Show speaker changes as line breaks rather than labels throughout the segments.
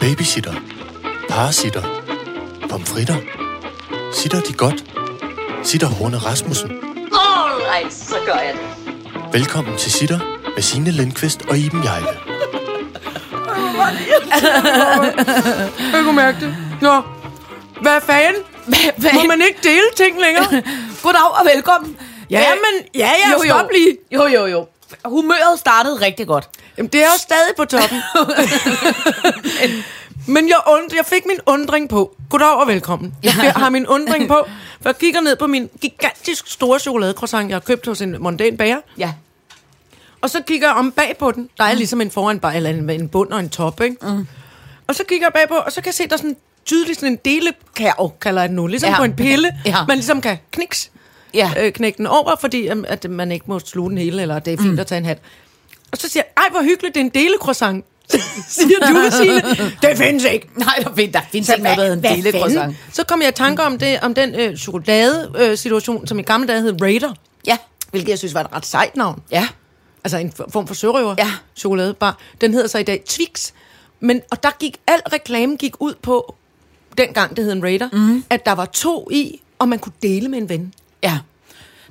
Babysitter. Parasitter. Pomfritter. Sitter de godt? Sitter Horne Rasmussen.
Alright, så gør jeg det.
Velkommen til Sitter med Signe Lindqvist og Iben Jejle.
Jeg kunne mærke det. Nå, hvad fanden?
Hvad?
Må man ikke dele ting længere?
Goddag og velkommen.
Ja,
Øh,
men ja, ja, jo, stop lige.
Jo, jo, jo. Humøret startede rigtig godt.
Jamen, det er jo stadig på toppen. men jeg, und, jeg fik min undring på. Goddag og velkommen. Jeg fik- har min undring på, for jeg kigger ned på min gigantisk store chokoladecroissant, jeg har købt hos en mondæn bager.
Ja.
Og så kigger jeg om bag på den. Der er ligesom en foran bare, eller en, en bund og en top, ikke? Mm. Og så kigger jeg bagpå, og så kan jeg se, der er sådan tydeligt sådan en delekærv, kalder jeg den nu. Ligesom
Ja.
ja. på en pille,
Ja.
ja. man ligesom kan kniks,
Ja.
øh, knække den over, fordi øhm, at man ikke må sluge den hele, eller det er fint mm. at tage en hat. Og så siger jeg, ej hvor hyggeligt, det er en delecroissant. siger du, Signe. Det findes ikke.
Nej, der findes, der findes ikke noget, der hedder en
hvad fanden?
delecroissant.
Så kom jeg i tanke om, det, om den øh, chokolade-situation, øh, situation, som i gamle dage hed Raider,
Ja.
hvilket jeg synes var et ret sejt navn.
Ja.
Altså en f- form for sørøver
Ja.
chokoladebar. Den hedder så i dag Twix. Men, og der gik al reklame gik ud på, dengang det hed en Raider, mm. at der var to i, og man kunne dele med en ven.
Ja.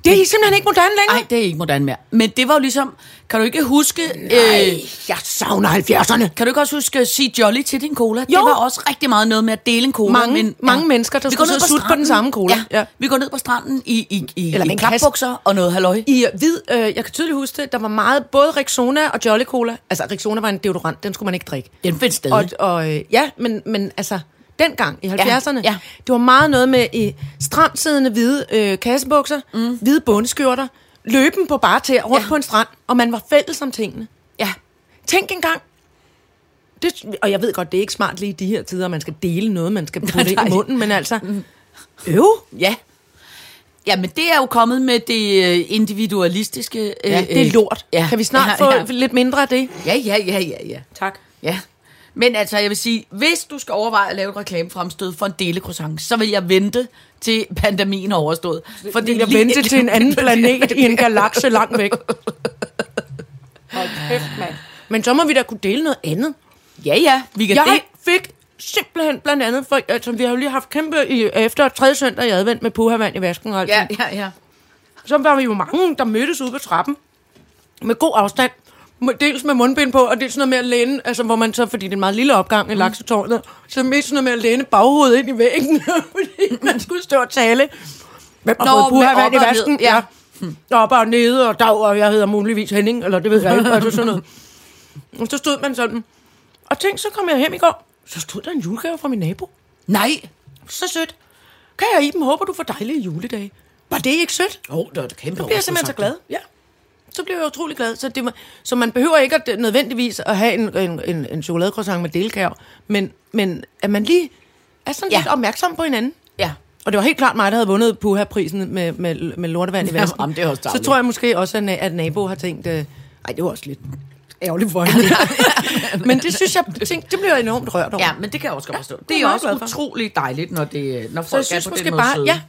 Det er simpelthen ikke moderne længere.
Nej, det er ikke moderne mere. Men det var jo ligesom... Kan du ikke huske... Øh,
jeg savner 70'erne.
kan du ikke også huske at sige jolly til din cola? Det
Jo.
var også rigtig meget noget med at dele en cola.
Mange-
men,
mange mennesker, der
Vi
skulle
går ned
sidde og sutte på
stranden.
den samme cola.
Ja. ja.
Ja.
Vi går ned på stranden i, i, i,
Eller
i
med en kasse.
klapbukser og noget halløj.
I hvid, øh, jeg kan tydeligt huske det, der var meget, både Rexona og Jolly Cola. Altså, Rexona var en deodorant, den skulle man ikke drikke.
Den findes stadig.
Og, og øh, ja, men, men altså, dengang i 70'erne,
ja.
det var meget noget med i stramt siddende hvide øh, kassebukser, mm. hvide bundskjorter, løben på bare tæer rundt
Ja.
ja. på en strand, og man var fælles om tingene.
Ja.
Tænk engang. Det, og jeg ved godt, det er ikke smart lige i de her tider, man skal dele noget, man skal putte ind
nej. Mm.
i munden, men altså, øv.
Ja. Ja, men det er jo kommet med det øh, individualistiske... øh,
Ja, det er
øh,
lort. Ja. Kan vi snart
ja,
få
ja.
lidt mindre af det?
Ja, ja, ja, ja, ja.
Tak.
Ja. Men altså, jeg vil sige, hvis du skal overveje at lave et reklamefremstød for en delecroissant, så vil jeg vente til pandemien er overstået.
Fordi jeg vente til en anden planet i en galakse langt væk. Men så må vi da kunne dele noget andet.
Ja, ja, vi kan
Jeg
det.
fik simpelthen blandt andet, for altså, vi har jo lige haft kæmpe i, efter tredje søndag i advent med puhavand i vasken og alt
Ja,
ja.
ja, ja.
Så var vi jo mange, der mødtes ude på trappen med god afstand. Med- Dels med mundbind på, og dels noget med at læne, altså hvor man så, fordi det er en meget lille opgang i mm. laksetårnet, så mest sådan noget med at læne baghovedet ind i væggen, fordi man skulle stå og tale. Hvem har
Nå,
fået
med
puhavand i
op og ned,
vasken?
ja.
Ja. Hm. Op og nede, og dag, og jeg hedder muligvis Henning, eller det ved jeg ikke, altså sådan noget. Og så stod man sådan. Og tænk, så kom jeg hjem i går, så stod der en julegave fra min nabo.
Nej.
Så sødt. Kære Iben, håber du får dejlige juledage. Var det ikke sødt?
Jo, oh, det var et kæmpe
Så bliver jeg simpelthen så glad. Ja. Så bliver jeg utrolig glad. Så, det, var- så man behøver ikke at, det- nødvendigvis at have en, en, en, en chokoladecroissant med delkager, men, men at man lige er sådan
Ja.
ja. lidt opmærksom på hinanden.
Ja.
Og det var helt klart mig, der havde vundet Puha-prisen med, med, med lortevand i
Jamen,
vasken.
jamen, det er også
Så
dejligt.
tror jeg måske også, at, na- at nabo har tænkt, øh, ej, det var også lidt ærgerligt for hende. men det synes jeg, tænkte, det bliver jeg enormt rørt over.
Ja, men det kan jeg også godt forstå.
det er
det er
jeg
også
meget glad for.
utrolig dejligt, når, det, når folk
Så jeg
er
synes
på
måske
den måde
bare,
søde.
ja.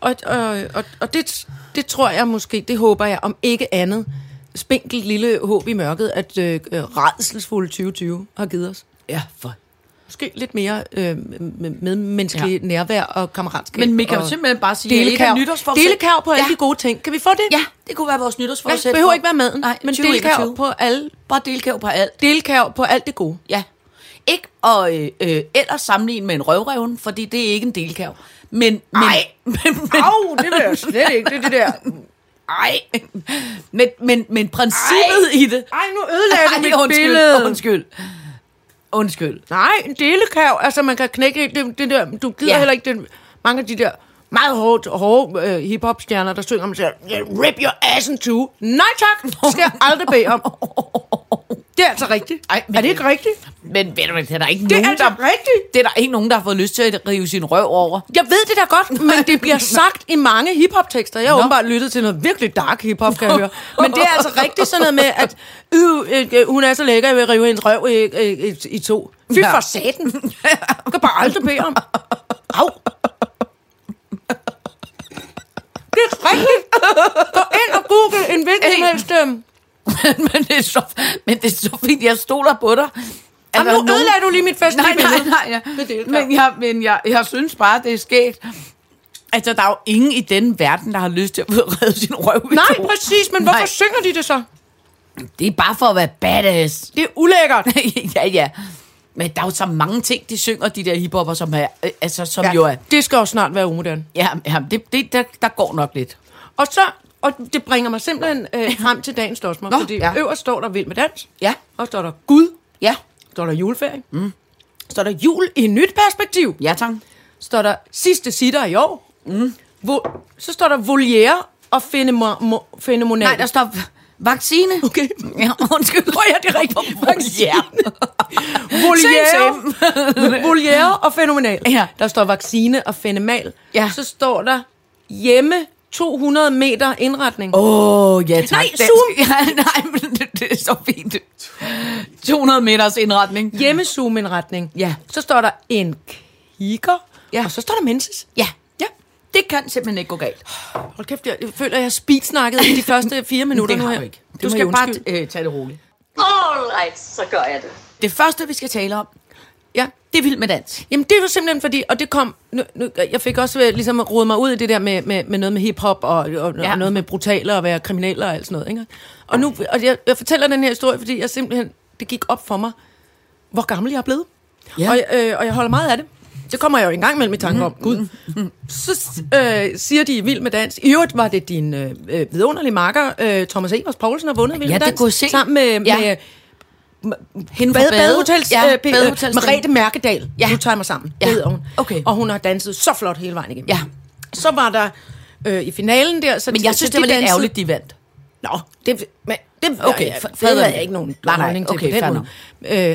Og, og, og, og det, det tror jeg måske, det håber jeg, om ikke andet, spinkelt lille håb i mørket, at øh, øh, redselsfulde 2020 har givet os.
ja, for.
Måske lidt mere øh, med menneskelig
Ja.
ja. nærvær og kammeratskab.
Men man kan jo
og
simpelthen bare sige, at et af
delekærv.
nytårsforsæt-
delekærv på alle
Ja.
de gode ting. Kan vi få det?
Ja, det kunne være vores nytårsforsæt.
ja behøver
for-
ikke være maden,
Nej,
men
2021.
delekærv på, alle,
Bare delkæv på alt.
delekærv på alt det gode.
Ja. Ikke og øh, øh, ellers sammenligne med en røvrevne, fordi det er ikke en delkav. Men,
Ej.
men, men, men,
det vil jeg slet ikke. Det er det der.
ej. Men, men, men princippet i det...
Ej, nu ødelagde du
Ej,
mit
undskyld,
billede.
undskyld. Undskyld.
Nej, en delekav. Altså, man kan knække det, det der. Du gider
Ja.
ja. heller ikke den, mange af de der meget hårdt, hårde øh, hiphop-stjerner, der synger om sig, rip your ass in two. Nej tak, det skal jeg aldrig bede om. Det er altså rigtigt.
Ej, men-
er det ikke rigtigt?
Men ved du hvad, det er der ikke
Det
nogen,
er altså
der...
rigtigt.
Det er der ikke nogen, der har fået lyst til at rive sin røv over.
Jeg ved det da godt, men det bliver sagt i mange hiphop-tekster. Jeg har
Nå.
åbenbart lyttet til noget virkelig dark hiphop, kan jeg høre. Men det er altså rigtigt sådan noget med, at øh, øh, øh, hun er så lækker, jeg vil rive hendes røv i, i, i, i to. Fy
Ja.
for satan. Du kan bare aldrig bede om. Au. Det er rigtigt. Gå ind og google en hvilken som helst. øhm,
men, det er så, men det er så fint, jeg stoler på dig.
Jamen, nu
der nogen-
ødelagde du lige mit fest.
Nej, nej, nej.
Med
Ja.
det,
Men,
ja.
jeg, men jeg, jeg synes bare, det er skægt. Altså, der er jo ingen i denne verden, der har lyst til at redde sin røv i to.
Nej, præcis, men hvorfor
Nej.
synger de det så?
Det er bare for at være badass.
Det er ulækkert.
ja, ja. Men der er jo så mange ting, de synger, de der hiphopper, som, er, øh, altså, som ja. jo er...
Det skal jo snart være umoderne.
Ja, ja det, det, der, der går nok lidt.
Og så, og det bringer mig simpelthen øh, frem til dagens spørgsmål,
Nå,
fordi
ja.
ja. øverst står der vild med dans,
Ja.
og står der Gud,
Ja.
står der juleferie, mm. står der jul i et nyt perspektiv,
Ja, tak.
står der sidste sitter i år, mm. Vo- så står der voliere og fænomo- fænomenal.
Nej, der står vaccine.
Okay.
Ja, undskyld. Hvor er det rigtigt? Vaccine. Same,
voliere, voliere og fænomenal.
Ja.
Der står vaccine og fænomenal.
Ja.
Så står der hjemme 200 meter indretning.
Åh, oh, ja tak.
Nej,
Den-
zoom.
Ja, nej, men det, det er så fint. 200 meters indretning.
hjemmezoom-indretning.
Ja.
Så står der en kigger,
Ja.
ja. og så står der menses.
Ja, ja. Det kan simpelthen ikke gå galt.
Hold kæft, jeg, jeg føler, at jeg speedsnakkede i de første fire minutter
det
nu
har
her.
du ikke.
Du
Du
skal bare...
t- øh, tage det roligt.
All right, så gør jeg det.
Det første, vi skal tale om,
Ja.
det er vild med dans.
Jamen, det var simpelthen fordi, og det kom, nu, nu, jeg fik også øh, ligesom rodet mig ud i det der med, med, med noget med hiphop og, og,
Ja.
ja. og noget med brutale og være kriminelle og alt sådan noget. Ikke? Og nu, og jeg, jeg fortæller den her historie, fordi jeg simpelthen, det gik op for mig, hvor gammel jeg er blevet.
Ja.
Ja. Og, øh, og jeg holder meget af det. Det kommer jeg jo engang mellem i tanke om. Gud. Så øh, siger de vild med dans. I øvrigt var det din øh, øh, vidunderlige makker, øh, Thomas Evers Poulsen, har vundet vild
Ja,
med
det
dans.
kunne jeg se.
Sammen med,
Ja.
ja. med
Hende
Bade, badehotels,
ja,
øh,
badehotels.
badehotels, Merete Mærkedal.
Ja.
Ja. Nu tager jeg mig sammen.
Ja.
Ja. Det hedder hun.
Okay.
Og hun har danset så flot hele vejen igennem.
Ja.
Så var der øh, i finalen der... Så
Men jeg
så
synes,
de
det var lidt
dansede-
ærgerligt, de vandt.
Nå, det, men, det,
Okay,
okay, jeg,
fred
det
være
havde
med
jeg
det.
ikke nogen
Nej, nej,
holdning til
okay,
på
fair
den måde.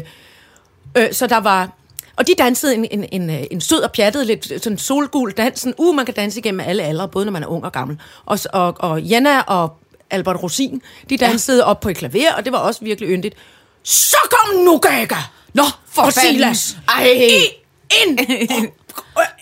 Øh, øh, så der var... Og de dansede en, en, en, øh, en sød og pjattet, lidt sådan solgul dansen. Uh, man kan danse igennem alle aldre, både når man er ung og gammel. Og, s- og, og Jenna og Albert Rosin, de dansede ja. op på et klaver, og det var også virkelig yndigt. Så kom nu, Gaga!
Nå, for
og
fanden.
Silas.
Ej.
I en,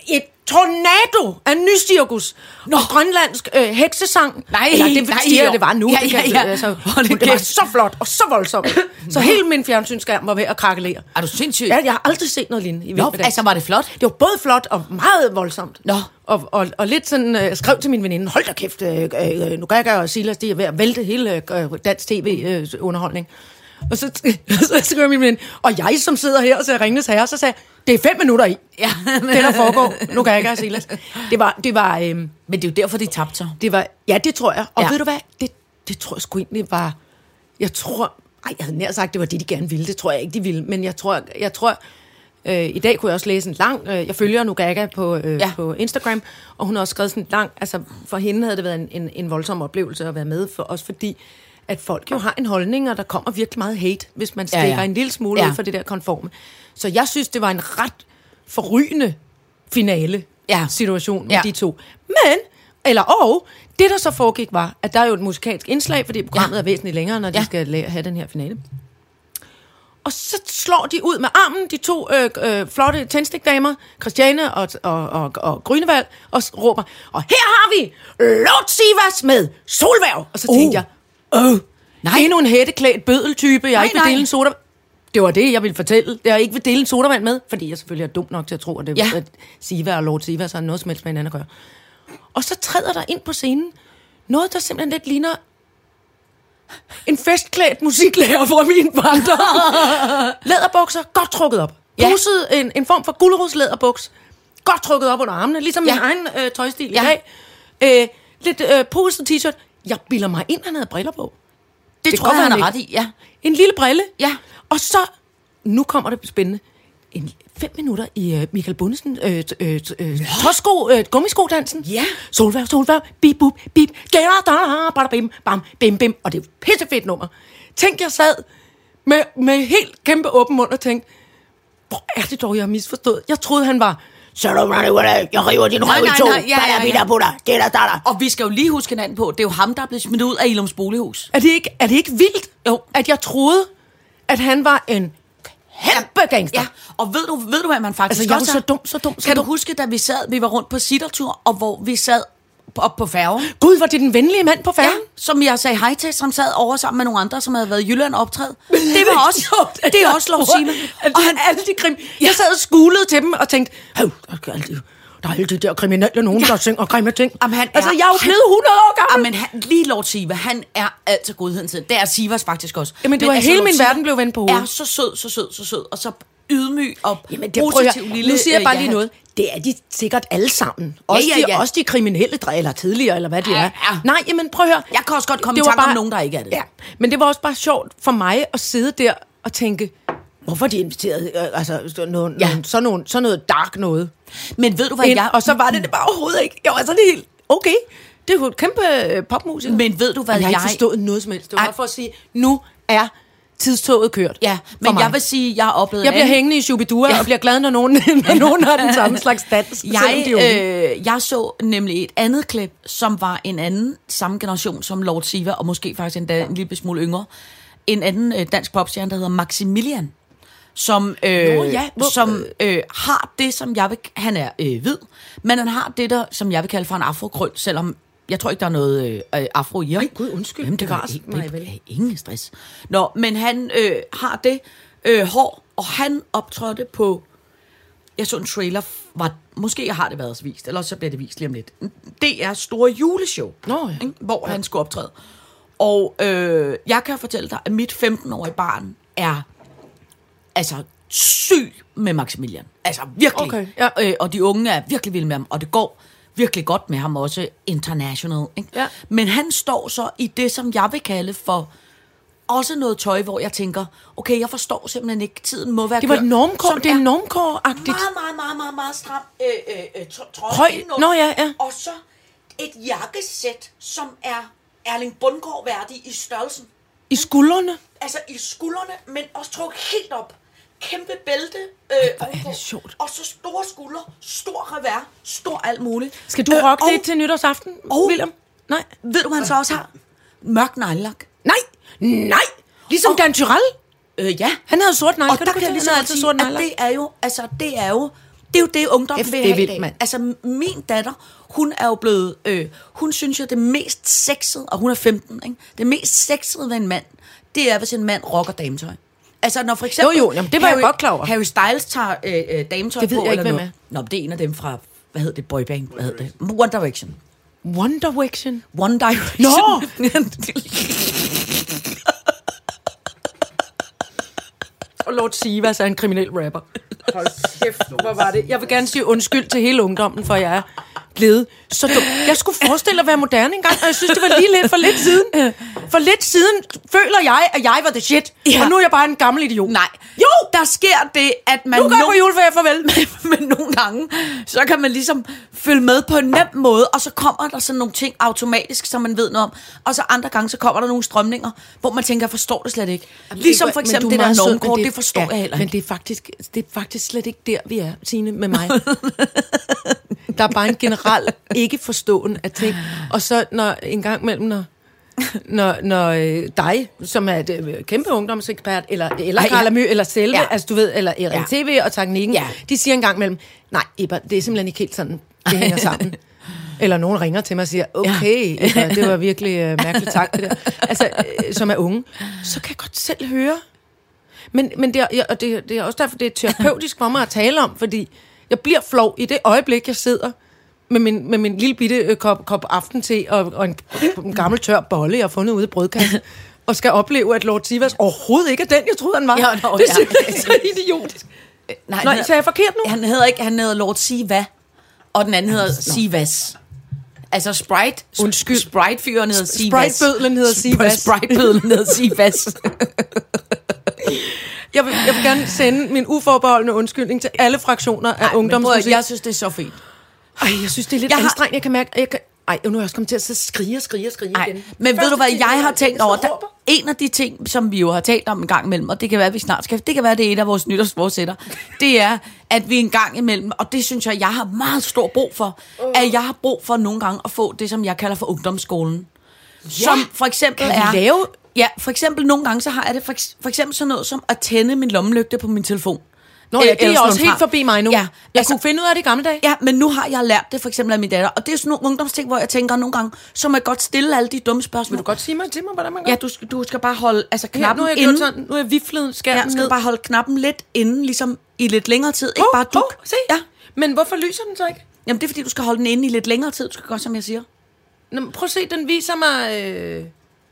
et tornado af nystirkus. Nå. Og grønlandsk øh, heksesang.
Nej,
Eller det
nej,
siger
jo.
jeg, det var nu.
Ja,
det kan
ja,
jeg-
ja.
Altså,
Hold da
men det var
kæft.
så flot og så voldsomt. så hele min fjernsynsskærm var ved at krakkelere.
Er du sindssyg?
Ja, jeg har aldrig set noget lignende i
Nå,
Vild Med Dans.
altså, var det flot?
Det var både flot og meget voldsomt.
Nå.
Og, og, og lidt sådan, øh, skrev til min veninde, hold da kæft, øh, øh, nu kan jeg og Silas, det er ved at vælte hele øh, dansk tv-underholdning. og så, så skriver min veninde, og jeg som sidder her og ser Ringnes Herre, så sagde jeg, det er fem minutter i,
Ja.
det der foregår, nu kan jeg og Silas. Det var, det var, øh,
Men det er jo derfor, de tabte sig.
det var, ja, det tror jeg. Og
Ja.
ja. ved du hvad, det, det tror jeg sgu egentlig var, jeg tror, ej, jeg havde nær sagt, det var det, de gerne ville. Det tror jeg ikke, de ville. Men jeg tror, jeg tror øh, i dag kunne jeg også læse en lang, øh, jeg følger Nugaga på, øh,
Ja.
ja. på Instagram, og hun har også skrevet sådan en lang, altså for hende havde det været en, en, en voldsom oplevelse at være med, for, også fordi, at folk jo har en holdning, og der kommer virkelig meget hate, hvis man
Ja,
stikker
ja.
ja, ja. en lille smule
Ja.
ja. ud for det der konforme. Så jeg synes, det var en ret forrygende finale
Ja.
situation med
Ja.
ja. de to. Men, eller og, det der så foregik var, at der er jo et musikalsk indslag, fordi programmet
Ja.
ja. er væsentligt længere, når de
Ja.
ja. skal la- have den her finale. Og så slår de ud med armen, de to øh, øh, flotte tændstikdamer, Christiane og, og, og, og Grønevald, og s- råber, og her har vi Lotsivas med solværv. Og så
Oh.
tænkte jeg, åh,
Nej.
nej. endnu en hætteklædt bødeltype,
Nej,
jeg nej, ikke vil
nej.
dele en soda. Det var det, jeg ville fortælle. Det jeg ikke vil dele en sodavand med, fordi jeg selvfølgelig er dum nok til at tro, at, det,
Ja.
ja. at Siva og Lord Siva så har noget som helst med hinanden at gøre. Og så træder der ind på scenen noget, der simpelthen lidt ligner en festklædt musiklærer fra min barndom. Læderbukser, godt trukket op.
Ja.
Pusset en, en form for gulerodslæderbuks. Godt trukket op under armene, ligesom
Ja.
ja. min egen øh, tøjstil
Ja.
ja. i dag. Øh, lidt øh, pusset t-shirt. Jeg bilder mig ind, han havde briller på.
Det, det
tror
tror jeg,
jeg,
han
han
er ret
ikke.
i, ja.
En lille brille.
Ja.
Og så, nu kommer det spændende, en fem minutter i øh, Michael Bundesen, øh, t- øh, t- øh, tåsko, øh, gummiskodansen.
Ja.
Solværv, solværv, bip, bup, bip, gæra, da, bada, bim, bam, bim, bim. Og det er et pissefedt nummer. Tænk, jeg sad med, med helt kæmpe åben mund og tænkte, hvor er det dog, jeg har misforstået. Jeg troede, han var, så er du running with it. jeg river din røv i
nej,
to,
nej, ja, ja, ja.
bada, bida, buda, gæra, da, da.
Og vi skal jo lige huske hinanden på, det er jo ham, der er blevet smidt ud af Ilums bolighus.
Er det ikke, er det ikke vildt, jo. at jeg troede, at han var en kæmpe gangster?
Ja, og ved du, ved du hvad man faktisk
Altså, jeg er jo
også
så
er?
dum, så dum, så
Kan du
dum.
huske, da vi sad, vi var rundt på sittertur, og hvor vi sad op på færgen.
Gud, var det den venlige mand på
Ja,
færgen?
som jeg sagde hej til, som sad over sammen med nogle andre, som havde været i Jylland optræd. Det var også, det Altså, er også Lovsina.
Og han alle de krim... Jeg sad og skulede til dem og tænkte, hov, der er alle de, der er alle de der kriminelle, nogen, der synger grimme ting.
Jamen, han er-
altså, jeg er jo
han-
blevet 100 år gammel.
Jamen, han, lige Lord Siva, han er altid godheden til. Det er Sivas faktisk også.
Jamen, det var hele
Lord
min
Siva
verden blev vendt på hovedet.
Er så sød, så sød, så sød, og så ydmyg og
Jamen,
Jamen,
det prøver
positiv
jeg.
lille...
Lille, nu siger jeg
øh,
bare lige
ja-hat.
noget. Det er de sikkert alle sammen. Også,
ja,
De,
ja.
også de kriminelle, dre- eller tidligere, eller hvad de
Ja,
er.
ja.
Nej, jamen prøv at høre.
Jeg kan også godt komme i
Det var
tanke om nogen, der ikke er det.
Ja, men det var også bare sjovt for mig at sidde der og tænke, hvorfor har de inviteret øh, altså, sådan, nogle, ja.
Ja.
nogle, sådan, nogle, sådan noget dark noget?
Men ved du, hvad
Ind,
jeg...
og så var det det bare overhovedet ikke. Jeg var sådan helt, okay, det er jo et kæmpe øh, popmusiker.
Men ved du, hvad
Og jeg har ikke
jeg-
forstået noget som helst. Det var
Ej.
bare for at sige, nu er tidstoget kørt.
Ja,
for
men
mig.
jeg vil sige, jeg har oplevet
Jeg
en
bliver
anden-
hængende i Shubidua ja.
Ja.
og bliver glad, når nogen, når nogen har den samme slags dans. selvom de er unge.
Jeg, øh, jeg så nemlig et andet klip, som var en anden samme generation som Lord Siva, og måske faktisk endda en lille smule yngre. En anden øh, dansk popstjerne, der hedder Maximilian, som, øh,
Nå, ja, hvor-
som øh, har det, som jeg vil... Han er øh, hvid, men han har det, der, som jeg vil kalde for en afrokrøl, selvom jeg tror ikke, der er noget øh, øh, afro i ham.
Ej, gud, undskyld,
Jamen, det var
bevares
ikke,
mig
det,
vel.
er ingen stress. Nå, men han øh, har det øh, hår, og han optrådte på jeg så en trailer, var, måske har det været vist, eller også så bliver det vist lige om lidt. Det er store juleshow,
Nå, ja.
ikke? hvor han skulle optræde. Og øh, jeg kan fortælle dig, at mit 15-årige barn er altså syg med Maximilian. Altså virkelig.
Okay, ja.
øh, og de unge er virkelig vilde med ham, og det går virkelig godt med ham også international. Ikke?
Ja.
Men han står så i det, som jeg vil kalde for også noget tøj, hvor jeg tænker, okay, jeg forstår simpelthen ikke, tiden må være
Det var
kørt,
normkår,
som
det er normkår-agtigt.
meget, meget, meget, meget, meget stram øh, øh, øh, tr- trøje.
Høj.
indenunder.
Nå, ja, ja.
Og så et jakkesæt, som er Erling Bundgaard værdig i størrelsen.
I skuldrene.
Altså i skuldrene, men også trukket helt op. Kæmpe bælte. Øh,
hvor er det
ovenpå.
sjovt.
Og så store skuldre, stor revær, stor alt muligt.
Skal du
Øh,
rocke
og
det til nytårsaften,
og-
William? Nej.
Ved du, hvad han så også har? Mørk nejlak.
Nej! Nej! Ligesom
Og-
Dan Tyrell.
Øh, ja.
Han havde sort negl.
Og
Kan
der kan
du huske
jeg lige
det? Han
så
havde
godt
altid
sige,
sort
at
nejlak.
det er jo, altså, det er jo, det er jo det, ungdommen
Kæft,
vil
det er
have i
vildt,
dag.
mand.
Altså, min datter, hun er jo blevet, øh, hun synes jo, det mest sexede, og hun er 15, ikke? det mest sexede ved en mand, det er, hvis en mand rocker dametøj. Altså, når for eksempel...
Jo, jo, jamen, det var jeg
Harry,
godt klar over.
Harry Styles tager øh, øh, dametøj
Det ved
på,
jeg ikke,
eller
hvem
noget. Nå, men det er en af dem fra, hvad hed det, boyband? Hvad hed det? One Direction.
One Direction.
One Direction.
Nå! Og Lord Sivas er en kriminel rapper. Hold kæft, hvor var det. Jeg vil gerne sige undskyld til hele ungdommen, for jeg er blevet så dum. Jeg skulle forestille at være moderne engang, og jeg synes, det var lige lidt for lidt siden. For lidt siden føler jeg, at jeg var the shit. Ja.
Ja.
Og nu er jeg bare en gammel idiot.
Nej.
Jo!
Der sker det, at man...
Nu går jeg på
nogle-
juleferie, farvel.
men nogle gange, så kan man ligesom følge med på en nem måde, og så kommer der sådan nogle ting automatisk, som man ved noget om. Og så andre gange, så kommer der nogle strømninger, hvor man tænker, jeg forstår det slet ikke. Jamen, ligesom for eksempel det der normkort, det, det forstår ja, jeg heller
Men
ikke.
det er, faktisk, det er faktisk slet ikke der, vi er, Signe, med mig. der er bare en generel ikke forståen af ting. Og så når en gang mellem, når, når, når øh, dig, som er et øh, kæmpe ungdomsekspert, eller, eller
Ej, ja.
Carla Mø, eller Selve, ja.
Ja.
altså du ved, eller Erik ja.
Ja.
TV og Teknikken, ja.
Ja.
de siger en gang mellem, nej, Ebber, det er simpelthen ikke helt sådan, det hænger sammen. Eller nogen ringer til mig og siger, okay, ja. Ebber, det var virkelig øh, mærkeligt tak, det der. Altså, øh, som er unge. Så kan jeg godt selv høre. Men, men det, er, jeg- og det, det er også derfor, det er terapeutisk for mig at tale om, fordi jeg bliver flov i det øjeblik, jeg sidder med min, med min lille bitte øh, kop, kop aftente og, og en, en gammel tør bolle, jeg har fundet ude i brødkassen, og skal opleve, at Lord Sivas overhovedet ikke er den, jeg troede, han var.
Ja, nå,
det
ja.
synes jeg er så idiotisk.
Nej,
Nå,
han
så er jeg forkert nu?
Han hedder ikke, han hedder Lord Siva, og den anden hedder Sivas. Altså Sprite, sp-
Undskyld.
Sprite-fyren hedder Sivas.
Sprite-bødlen hedder Sivas.
Sprite-bødlen hedder Sivas.
Jeg vil, jeg vil gerne sende min uforbeholdende undskyldning til alle
Ej,
fraktioner af
men prøv at-
ungdomsmusik.
Jeg synes, det er så fint.
Ej, jeg synes, det er lidt
Jeg
jeg
har-
anstrengende. Jeg kan mærke, at jeg kan... Ej, nu er jeg også kommet til at sidde og skrige og skrige og skrige
Nej,
igen.
men ved
Første
du hvad,
time,
jeg har
jeg
tænkt
sidder
over,
og
der,
råber.
en af de ting, som vi jo har talt om en gang imellem, og det kan være, at vi snart skal, det kan være, det er et af vores nytårsforsætter, det er, at vi en gang imellem, og det synes jeg, jeg har meget stor brug for, at jeg har brug for nogle gange at få det, som jeg kalder for ungdomsskolen. Som for eksempel
Kan vi
er...
lave-
Ja, for eksempel nogle gange, så har jeg det for, eks- for eksempel sådan noget som at tænde min lommelygte på min telefon.
Nå ja, det
eller
er
sådan
også
nogle
helt
fra.
forbi mig nu.
Ja,
jeg altså, kunne finde ud af det i gamle dage.
Ja, men nu har jeg lært det for eksempel af min datter, og det er sådan nogle ungdomsting, hvor jeg tænker nogle gange, så må jeg godt stille alle de dumme spørgsmål.
Vil du godt sige mig til mig, hvordan man gør?
Ja, du skal, du skal bare holde altså,
Her, nu
knappen
har jeg
inden.
gjort sådan, nu har jeg viflet skærmen
Ja,
ned.
skal du bare holde knappen lidt inden, ligesom i lidt længere tid. Ikke bare duk.
se.
Ja.
Men hvorfor lyser den så ikke?
Jamen, det er fordi, du skal holde den inde i lidt længere tid. Du skal gøre, som jeg siger.
Nå, men prøv at se, den viser mig... Øh...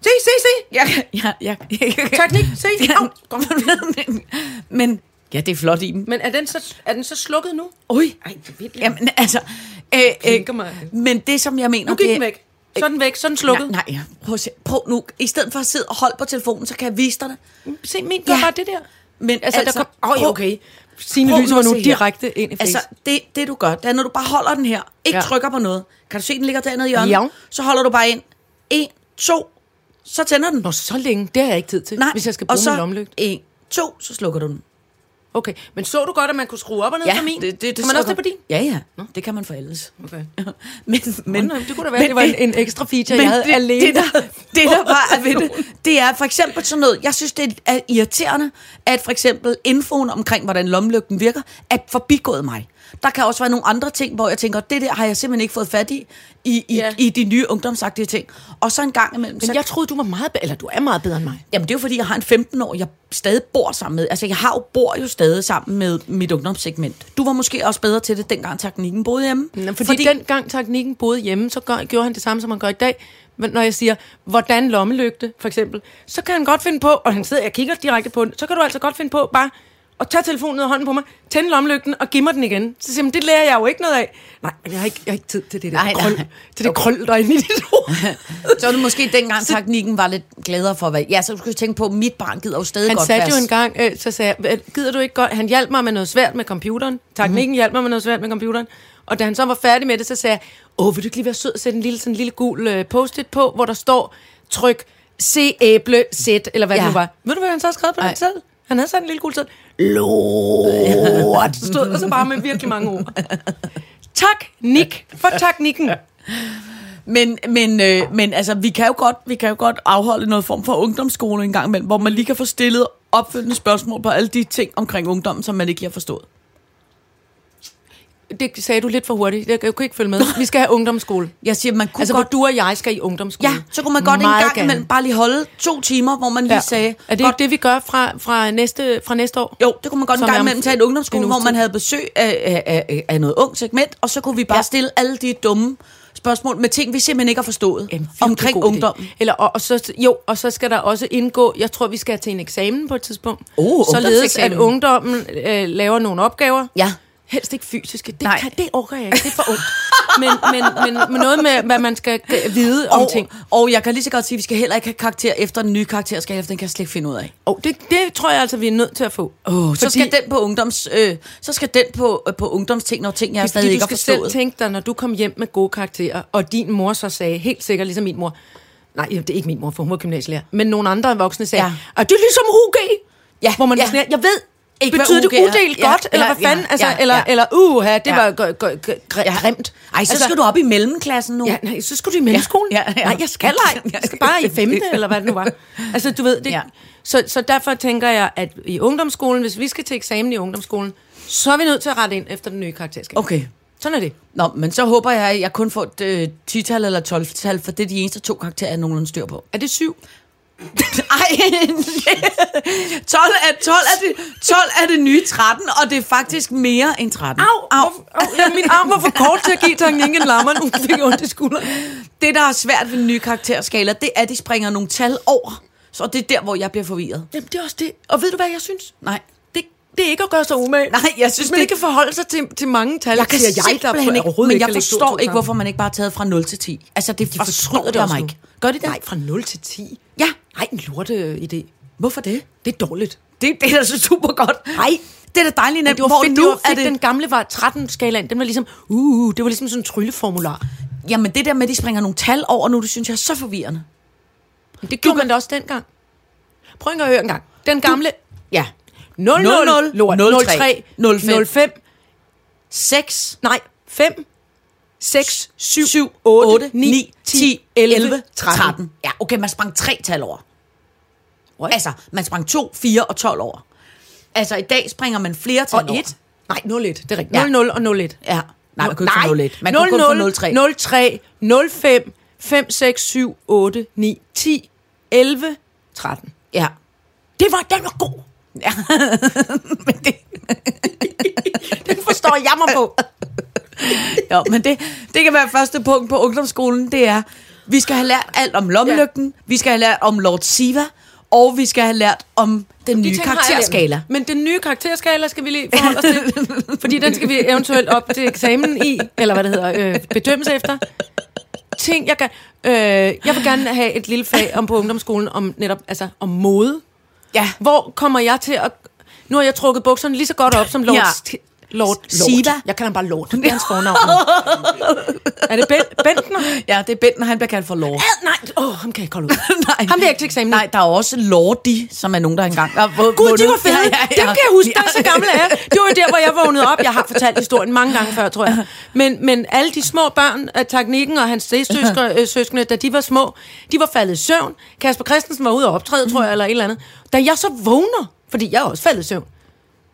Se, se, se!
Ja, ja, ja.
Teknik, se! Au.
Men, ja, det er flot i den.
Men er den så, er den så slukket nu?
Ui,
Ej, det vil jeg.
jamen altså... Øh,
Pinker mig.
men det, som jeg mener...
Nu gik
det,
den væk. Så er den væk, så er den
Nej,
slukket.
nej, ja. prøv, at se. prøv nu. I stedet for at sidde og holde på telefonen, så kan jeg vise dig det.
Se, min gør
Ja.
bare det der.
Men
Altså, altså der kom... Åh, oh,
prøv-
okay. Signe
prøv
lyser
nu
mig
at
nu
se her.
direkte ind i face.
Altså, det, det du gør, det er, når du bare holder den her, ikke
Ja.
ja. trykker på noget. Kan du se, den ligger dernede i hjørnet?
Ja.
Så holder du bare ind. En, to, så tænder den.
Nå, så længe, det har jeg ikke tid til, Nej. hvis jeg skal
og
bruge så... min lommelygte.
en, to, så slukker du den.
Okay, men så du godt, at man kunne skrue op og ned for min? kan man
så
også
du-
det på din?
Ja, ja. Nå. Det kan man for alles.
Okay.
men, men,
Nå, det kunne da være, det var en, en ekstra feature, jeg havde
det,
alene.
Det der, det der bare er ved det, det er for eksempel sådan noget, jeg synes det er irriterende, at for eksempel infoen omkring, hvordan lommelygten virker, er forbigået mig. Der kan også være nogle andre ting, hvor jeg tænker, det der har jeg simpelthen ikke fået fat i, i, i,
Ja.
ja. i de nye ungdomsagtige ting. Og så en gang imellem...
Men
så,
jeg troede, du var meget bedre, eller du er meget bedre end mig.
Jamen det er jo fordi, jeg har en 15-år, jeg stadig bor sammen med. Altså jeg har jo, bor jo stadig sammen med mit ungdomssegment. Du var måske også bedre til det, dengang teknikken boede hjemme.
Nå, Fordi, fordi dengang teknikken boede hjemme, så gør, gjorde han det samme, som han gør i dag. Men når jeg siger, hvordan lommelygte, for eksempel, så kan han godt finde på, og han sidder og kigger direkte på den, så kan du altså godt finde på bare at tage telefonen ud af hånden på mig, tænde lommelygten og give mig den igen. Så siger man, det lærer jeg jo ikke noget af. Nej, men jeg har ikke, jeg har ikke tid til det der
Nej, nej.
krøl, til det krøl, der er inde i dit hoved.
Så var det måske dengang, så... teknikken var lidt gladere for, hvad... Ja, så skulle jeg tænke på, at mit barn gider jo stadig
Han
godt
satte
fast.
jo en gang, øh, så sagde jeg, "Hvad, gider du ikke godt? Han hjalp mig med noget svært med computeren.
Mhm.
Teknikken mm. hjalp mig med noget svært med computeren. Og da han så var færdig med det, så sagde jeg, åh, vil du ikke lige være sød og sætte en lille, sådan en lille gul øh, post-it på, hvor der står, tryk, se æble, sæt, eller hvad ja.
Ja.
det nu var. Ved du, hvad han så skrev på den
Ej.
selv? Han havde sådan en lille gul sæd. Lort. Stod, og så bare med virkelig mange ord. Tak, Nick, for teknikken.
Men, men, øh, men altså, vi kan, jo godt, vi kan jo godt afholde noget form for ungdomsskole en gang imellem, hvor man lige kan få stillet opfølgende spørgsmål på alle de ting omkring ungdommen, som man ikke lige har forstået.
Det sagde du lidt for hurtigt. Jeg kunne ikke følge med. Vi skal have ungdomsskole.
Jeg siger, man kunne
Altså,
altså,
hvor
godt...
du og jeg skal i ungdomsskole.
Ja, så kunne man godt en
Meget
gang
gerne.
imellem bare lige holde to timer, hvor man lige ja. sagde...
Er det
godt,
ikke det, vi gør fra, fra, næste, fra næste år?
Jo, det kunne man godt en
Som er
gang
om
imellem tage en ungdomsskole,
en
hvor
uges
man
tid.
havde besøg af, af, af, af noget ung segment, og så kunne vi bare ja. stille alle de dumme spørgsmål med ting, vi simpelthen ikke har forstået
Jamen, virkelig
omkring
god idé.
ungdommen.
Eller, og, og så, jo, og så skal der også indgå, jeg tror, vi skal til en eksamen på et tidspunkt.
Oh,
således at
ungdomseksamen.
ungdommen øh, laver nogle opgaver.
Ja.
Helst ikke fysiske. Det,
Nej.
kan, det orker jeg ikke. Det er for ondt. men, men, men, men noget med, hvad man skal øh, vide om
og,
ting.
Og jeg kan lige så godt sige, at vi skal heller ikke have karakter efter den nye karakterskala, for den kan jeg slet ikke finde ud af.
Og det, det tror jeg altså, vi er nødt til at få.
Oh, så skal den på ungdoms, øh, så skal den på, øh, på ungdomsting, når ting, jeg
Det er
stadig
fordi,
ikke
du
har
skal selv
forstået.
tænke dig, når du kom hjem med gode karakterer, og din mor så sagde, helt sikkert ligesom min mor, nej, det er ikke min mor, for hun var gymnasielærer, men nogle andre voksne sagde, ja.
Ja.
og det er ligesom HG,
Ja,
hvor man
ja.
ja. sådan, her, jeg ved,
Ikke,
ikke
hvad
betyder det
UG er.
udelt
Ja,
godt, eller
ja,
hvad fanden,
ja,
altså,
ja,
eller,
ja.
eller uha, det
Ja.
var g- g- g- gr- grimt.
Ej, så
altså,
altså, skal du op i mellemklassen nu.
Ja, nej, så skulle du i mellemskolen.
Ja, ja, ja.
Nej, jeg skal ej. Jeg skal bare i femte, eller hvad det nu var. Altså, du ved det. Ja.
Ja.
Så, så derfor tænker jeg, at i ungdomsskolen, hvis vi skal til eksamen i ungdomsskolen, så er vi nødt til at rette ind efter den nye karakterskab.
Okay.
Sådan er det.
Nå, men så håber jeg, at jeg kun får et øh, 10-tal eller 12-tal, for det er de eneste to karakterer, jeg nogenlunde styr på.
Er det syv?
Ej, 12 er, 12, er det, 12 er det nye 13, og det er faktisk mere end 13.
Au, au, au, ja, min arm var for kort til at give tanken en lammer, nu fik jeg ondt i skulderen.
Det, der er svært ved den nye karakterskala, det er, at de springer nogle tal over. Så det er der, hvor jeg bliver forvirret.
Jamen, det er også det. Og ved du, hvad jeg synes?
Nej.
Det, det er ikke at gøre sig umage.
Nej, jeg synes,
Man
det-
ikke kan forholde sig til, til mange tal,
Jeg kan
siger jeg, der
simpelthen ikke,
overhovedet
men jeg
kan lægge to og
forstår
to
ikke,
sammen.
hvorfor man ikke bare er taget fra 0 til 10. Altså, det
De
forstryder det mig ikke.
Gør det det? Nej, fra 0 til 10.
Ja.
Nej, en lorte øh, idé.
Hvorfor det?
Det er dårligt.
Det, det er da så super godt. Nej. Det er da dejligt
Men
nemt.
det var
Hvor
fedt,
nu
det var fedt.
er det...
den gamle var 13-skalaen. Den var ligesom, uh, det var ligesom sådan en trylleformular.
Jamen, det der med, at de springer nogle tal over nu, det synes jeg er så forvirrende.
Men det gjorde man da også dengang. Prøv ikke at høre en gang. Den gamle... Ja. 00,
00,
03, 03,
05,
05,
6,
nej, 5, 6, 7,
7,
8,
8,
9, 10, 10 11, 13.
13. Ja, okay, man sprang tre tal over.
What?
Altså, man sprang 2, 4 og 12 over. Altså, i dag springer man flere
Og
tal over.
et. Nej, 0-1. Det er rigtigt.
Ja.
0-0 og 0-1.
Ja. Nej, man kunne ikke få 0 Man kunne kun få 0-3.
0 3 0 5 5 6 7 8 9 10 11 13.
Ja.
Det var, den var god.
ja. men det,
Den forstår jeg mig på.
jo, men det, det kan være første punkt på ungdomsskolen, det er, vi skal have lært alt om lommelygten, ja. vi skal have lært om Lord Siva, og vi skal have lært om den nye
De ting har jeg
karakterskala.
glemt. Men den nye karakterskala skal vi lige forholde os til. fordi den skal vi eventuelt op til eksamen i, eller hvad det hedder, øh, bedømmes efter. Ting, jeg, kan, øh, jeg vil gerne have et lille fag om på ungdomsskolen om netop altså, om mode.
Ja.
Hvor kommer jeg til at... Nu har jeg trukket bukserne lige så godt op som Lord...
Ja.
Ja. Lord,
Siva.
Jeg kalder ham bare Lord. Det er hans fornavn. nu. er det ben, Bentner?
Ja, det er Bent, når han bliver kaldt for Lord.
Ah, nej, åh, oh, ham kan jeg ikke holde ud.
Nej.
Ham vil jeg ikke til eksamen.
Nej, der er også Lordi, som er nogen, der engang...
Gud, de var fede. Dem kan jeg huske, der er så gammel af. Det var der, hvor jeg vågnede op. Jeg har fortalt historien mange gange før, tror jeg. Men, men alle de små børn af teknikken og hans stedsøskende, øh, søskende, da de var små, de var faldet i søvn. Kasper Christensen var ude og optræde,
Mm.
tror jeg, eller et eller andet. Da jeg så vågner, fordi jeg er også faldet i søvn,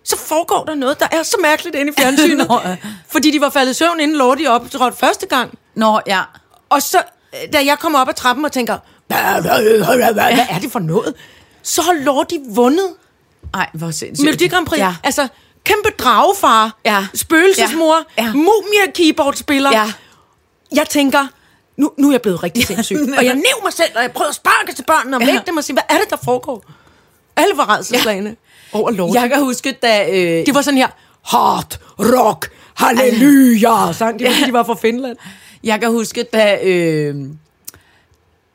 så foregår der noget, der er så mærkeligt inde i fjernsynet.
Nå, ja.
fordi de var faldet i søvn, inden Lordi optrådte første gang.
Nå, ja.
Og så, øh, da jeg kommer op ad trappen og tænker, hvad, hvad, hvad, hvad, hvad er det for noget? Så har Lordi vundet
Ej, hvor sindssygt.
Melodi Grand Prix.
Ja.
Ja. Altså, kæmpe dragefar,
Ja.
spøgelsesmor,
Ja.
ja.
Ja.
Ja. mumie-keyboardspiller.
Ja.
Ja. Jeg tænker, nu, nu er jeg blevet rigtig sindssyg. og jeg næv mig selv, og jeg prøvede at sparke til børnene og
Ja.
vække dem og sige, hvad er det, der foregår? Alle var redselslagene ja. over Lord.
Jeg kan huske, da... Øh,
Det var sådan her, hard rock, halleluja, sang de, fordi de var fra Finland.
Jeg kan huske, da, øh,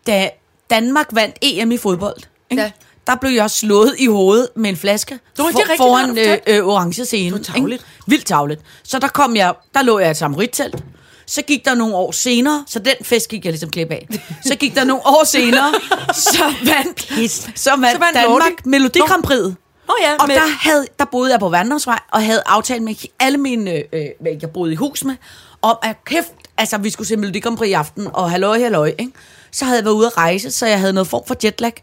da Danmark vandt EM i fodbold. Ikke? Ja.
Ja.
Der blev jeg slået i hovedet med en flaske
Nå, det er rigtigt,
foran
det har
øh,
du fortalt.
øh, orange scene.
Det var tarveligt.
ikke? Vildt tavlet. Så der kom jeg, der lå jeg i et samarittelt. Så gik der nogle år senere, så den fest gik jeg ligesom klip af. Så gik der nogle år senere, så vandt, så vandt, så
vandt
vandt Danmark
Lordi.
Melodikampriet.
Nå ja,
og
men-
der havde, der boede jeg på Vandringsvej, og havde aftalt med alle mine, øh, hvad jeg boede i hus med, om at kæft, altså vi skulle se Melodi Grand Prix i aften, og halløj, halløj, ikke? Så havde jeg været ude at rejse, så jeg havde noget form for jetlag.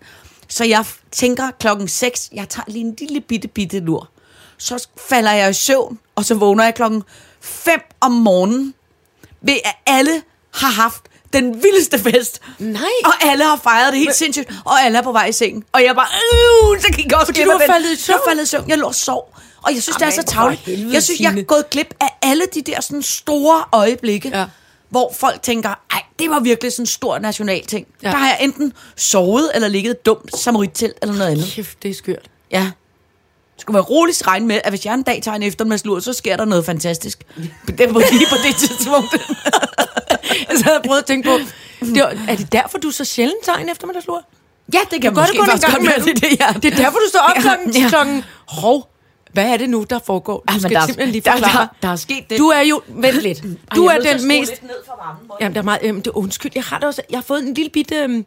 Så jeg f- tænker klokken 6, jeg tager lige en lille bitte, bitte lur. Så falder jeg i søvn, og så vågner jeg klokken 5 om morgenen, ved at alle har haft den vildeste fest.
Nej.
Og alle har fejret det helt sindssygt, og alle er på vej i sengen. Og jeg bare, øh, så gik jeg også glip
du
af
var
den.
faldet i søvn?
Jeg var faldet i søvn. Jeg lå og sov. Og jeg synes, det er så
Jamen, for
tavligt.
helvede,
Jeg synes, jeg er
Signe.
gået glip af alle de der sådan store øjeblikke,
Ja.
hvor folk tænker, ej, det var virkelig sådan en stor national ting.
Ja.
Der har jeg enten sovet eller ligget dumt som til eller noget andet.
Kæft, det er skørt.
Ja. Det skulle være roligt regne med, at hvis jeg en dag tager en eftermiddagslur, så sker der noget fantastisk. Det var lige på det tidspunkt.
Altså, jeg havde prøvet at tænke på, det var, er det derfor, du så sjældent tager en eftermiddagslur?
Ja, det kan
Gør det
måske
kun en
faktisk
gang
godt være
imellem.
det, det, ja.
Det er derfor, du står op
Ja,
klokken,
ja.
ja. klokken hov, hvad er det nu, der foregår? Du
Ja, men
skal
der er-
simpelthen lige
der- der-
forklare.
der er sket det.
Du er jo, vent lidt, du er den mest...
ned for varmen.
Jamen, der er meget, øhm, det er undskyld, jeg har, det også, jeg har fået en lille bitte øhm,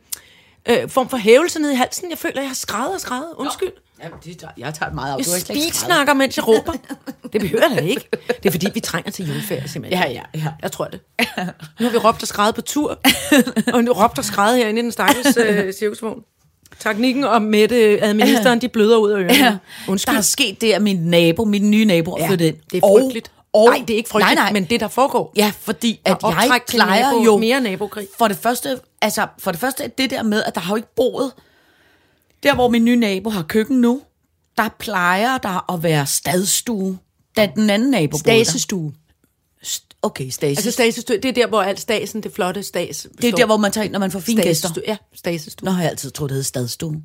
øh, form for hævelse ned i halsen. Jeg føler, jeg har skrædet og skrædet. Undskyld.
Jamen, det tager, jeg tager meget af.
Jeg speedsnakker, mens jeg råber. Det behøver jeg da ikke. Det er fordi, vi trænger til juleferie, simpelthen.
Ja, ja, ja.
Jeg tror det. Nu har vi råbt og skrædet på tur. Og nu råbt og skrædet herinde i den stakkels øh, cirkusvogn. Teknikken og Mette, øh, administreren, de bløder ud af ørerne.
Ja.
Ja.
Der
Undskyld.
er sket det, at min nabo, min nye nabo, er
Ja,
flyttet ind.
det er frygteligt.
Og, og,
nej, det er ikke frygteligt,
nej, nej.
men det, der foregår.
Ja, fordi at
Og
jeg
optræk til
plejer
nabo-
jo...
mere nabokrig.
For det første, altså, for det første, det der med, at der har jo ikke boet... Der, hvor min nye nabo har køkken nu, der plejer der at være stadstue, da den anden nabo bor der.
Stasestue.
St- Okay, stasestue.
Altså stasestue, det er der, hvor alt stasen, det flotte stas.
det er der, hvor man tager ind, når man får fine gæster.
Ja, stasestue.
Nå, har jeg altid troet, det hed stadstue.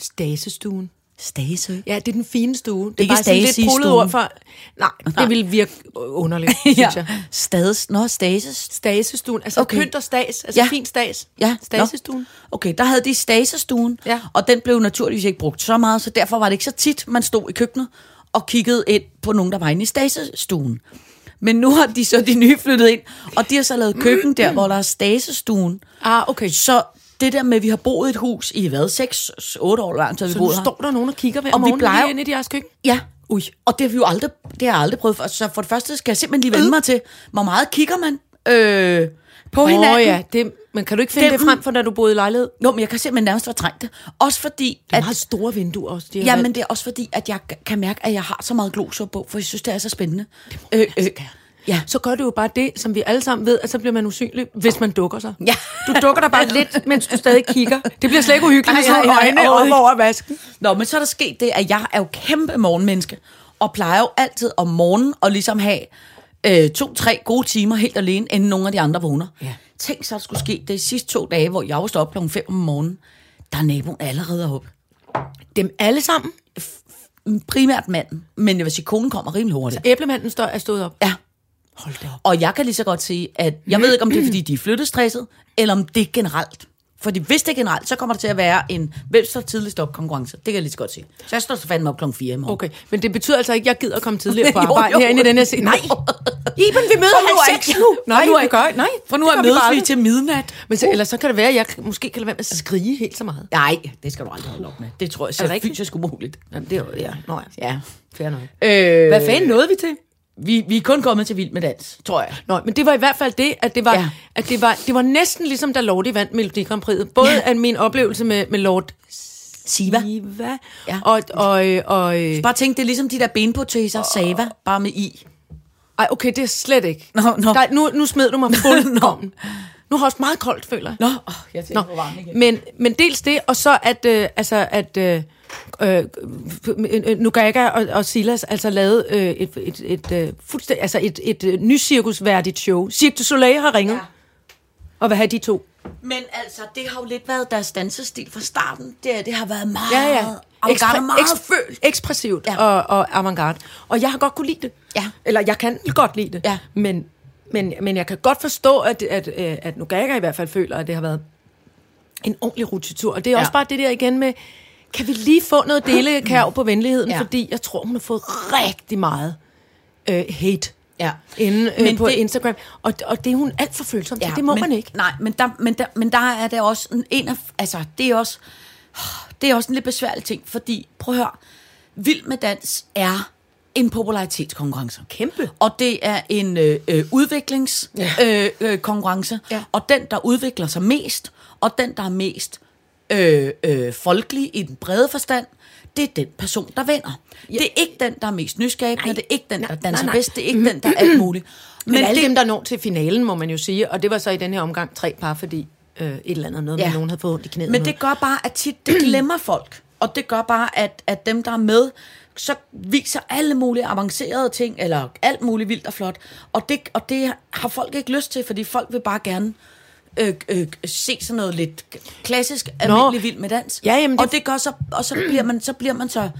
Stasestuen.
Stasø.
Ja, det er den fine stue. Det er
Ikke
bare sådan lidt
stasestuen.
pullet ord for... Nej, det ville virke underligt, synes
Ja.
jeg.
Stads, nå, stases.
Stasestuen. Altså
Okay.
okay. pynt og stas. Altså
Ja.
ja. fin stas.
Ja,
Stasestuen.
nå. Okay, der havde de stasestuen,
Ja.
og den blev naturligvis ikke brugt så meget, så derfor var det ikke så tit, man stod i køkkenet og kiggede ind på nogen, der var inde i stasestuen. Men nu har de så de nye flyttet ind, og de har så lavet køkken der, hvor der er stasestuen.
Ah, okay.
Så det der med, at vi har boet i et hus i hvad, 6-8 år langt, så vi
Så
boet
nu
her.
står der nogen og kigger hver
Og vi
morgen
plejer-
lige inde i deres køkken.
Ja. Ui. Og det har vi jo aldrig, det har jeg aldrig prøvet før. Så for det første skal jeg simpelthen lige vende mig til, hvor meget kigger man? Øh, på hinanden.
Åh ja, det, men kan du ikke finde
Dem-
det frem for, da du boede i lejlighed?
Nå, men jeg kan simpelthen nærmest fortrænge det. Også fordi,
Det er
at...
meget store vinduer også. De har
Ja,
valgt.
men det er også fordi, at jeg g- kan mærke, at jeg har så meget glosor på, for jeg synes, det er så spændende. Det må øh, øh, ja.
så gør det jo bare det, som vi alle sammen ved, at så bliver man usynlig, hvis man dukker sig.
Ja.
Du dukker dig bare lidt, mens du stadig kigger. Det bliver slet ikke uhyggeligt med
Ej,
sådan
ej, ej,
nogle øjne
overhovedet
oppe over vasken.
Nå, men så er der sket det, at jeg er jo kæmpe morgenmenneske, og plejer jo altid om morgenen at ligesom have øh, to-tre gode timer helt alene, inden nogle af de andre vågner.
Ja.
Tænk så, at det skulle ske det de sidste to dage, hvor jeg var stået op kl. 5 om morgenen. Der er naboen allerede oppe.
Dem alle sammen.
Primært manden, men jeg vil sige, konen kommer rimelig hurtigt.
Æblemanden står, er stået op.
Ja,
Hold da op.
Og jeg kan lige så godt sige, at jeg ved ikke, om det er, fordi de er flyttestresset, eller om det er generelt. Fordi hvis det er generelt, så kommer der til at være en hvem står tidligst op konkurrence. Det kan jeg lige så godt sige. Så jeg står så fandme op klokken 4 i morgen.
Okay, men det betyder altså ikke, at jeg gider at komme tidligere på
Jo,
arbejde
jo.
herinde i den her scene. Nej, Iben, vi møder
For nu er
halv seks
ikke-
nu.
for nu er
vi
ikke-
gør ikke. Nej,
for nu
det
er
gør vi
mødes
bare
vi
aldrig.
til midnat.
Men så, ellers så kan det være, at jeg måske kan lade være med at skrige helt så meget.
Nej, det skal du aldrig holde op med. Det tror jeg selv
rigtigt?
fysisk umuligt.
Jamen, det er jo, ja. Nå, ja.
Ja.
Fair nok.
Øh,
Hvad fanden nåede vi til?
Vi, vi er kun kommet til vild med dans, tror jeg.
Nå, men det var i hvert fald det, at det var,
Ja.
ja. at det var, det var næsten ligesom, da Lordi vandt Melodi Grand Prix'et. Både ja. af min oplevelse med, med Lord
Siva.
Iva,
Ja.
ja. og, og, øh, og, øh,
Bare tænk, det er ligesom de der benpoteser, Sava, bare med i.
ej, okay, det er slet ikke.
Nå, nå.
Der, nu, nu smed du mig fuldkommen. nu har jeg også meget koldt, føler jeg.
Nå, åh, jeg tænker på
Nå,
varmen igen.
men, men dels det, og så at, øh, altså, at øh, øh, øh, Nugaga og, og Silas altså lavede øh, et, et, et, øh, fuldstændig, altså et, et, et nycirkusværdigt show. Cirque du Soleil har ringet.
Ja.
Ja. Og hvad har de to?
Men altså, det har jo lidt været deres dansestil fra starten. Det, det har været meget
Ja, ja.
Expre- meget
ekspre- ekspressivt
Ja.
ja. og, og avantgarde. Og jeg har godt kunne lide det.
Ja.
Eller jeg kan godt lide det.
Ja.
Men, men, men jeg kan godt forstå, at, at, øh, at Nugaga i hvert fald føler, at det har været en ordentlig rutetur. Og det er
Ja.
ja. også bare det der igen med, kan vi lige få noget delekærv på venligheden?
Ja.
Mm. Ja. Fordi jeg tror, hun har fået rigtig meget øh, hate
Ja.
inde øh,
Men
på
det-
det, Instagram. Og, og det er hun alt for følsom til. Ja, det må
men,
men, man ikke.
Nej, men der, men, der, men der er det også en- en af... Altså, det er også, det er også en lidt besværlig ting, fordi, prøv at høre, Vild med Dans er en popularitetskonkurrence.
Kæmpe.
Og det er en øh, øh, udviklingskonkurrence, ja. øh, øh, konkurrence.
Ja.
og den, der udvikler sig mest, og den, der er mest øh, øh, folkelig i den brede forstand, det er den person, der vinder. Ja. Det er ikke den, der er mest nysgerrig, det er ikke den, der danser nej, nej.
nej.
bedst, det er ikke den, der er alt muligt.
Men, men alle det... dem, der når til finalen, må man jo sige, og det var så i den her omgang tre par, fordi øh, et eller andet noget,
Ja.
ja. men nogen havde fået ondt i knæet.
Men
og
det gør bare, at tit det glemmer folk. Og det gør bare, at, at dem, der er med, så viser alle mulige avancerede ting, eller alt muligt vildt og flot. Og det, og det har folk ikke lyst til, fordi folk vil bare gerne øh, øh, se sådan noget lidt klassisk, almindelig vild med dans.
Ja, jamen
det...
det-
Og det gør så, og så bliver man så, bliver man så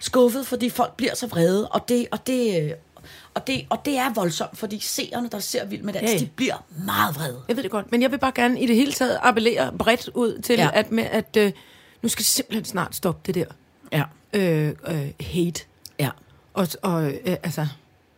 skuffet, fordi folk bliver så vrede. Og det, og det, øh, og det, og det er voldsomt, fordi seerne, der ser vild med dans,
Ja, ja.
de bliver meget vrede.
Jeg ved det godt, men jeg vil bare gerne i det hele taget appellere bredt ud til,
Ja.
ja. at, med, at øh, nu skal det simpelthen snart stoppe det der
Ja.
øh, øh, hate.
Ja.
Og, og øh, altså,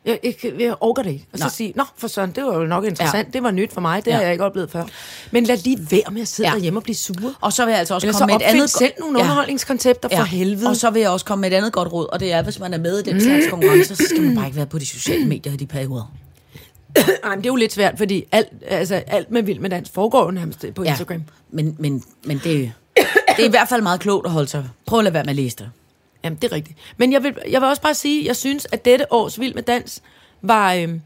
jeg, jeg, jeg orker det ikke. Og
Nej.
så sige, nå for søren, det var jo nok interessant,
Ja.
ja. det var nyt for mig, det
Ja.
ja. har jeg ikke oplevet før. Men lad lige være med at sidde
Ja.
ja. derhjemme og blive sure.
Og så vil jeg altså også
Eller
komme
så
med et
opfind
andet...
selv nogle underholdningskoncepter for helvede. Mm.
Og så vil jeg også komme med et andet godt råd, og det er, hvis man er med i den slags konkurrencer, så skal man bare ikke være på de sociale medier i de perioder.
Ej, men det er jo lidt svært, fordi alt, altså, alt med vild med dans foregår jo nærmest på ja. Instagram.
Men, men, men det, det er i hvert fald meget klogt at holde sig. Prøv at lade være med at læse det.
Jamen, det er rigtigt. Men jeg vil, jeg vil også bare sige, at jeg synes, at dette års Vild med Dans var, øhm,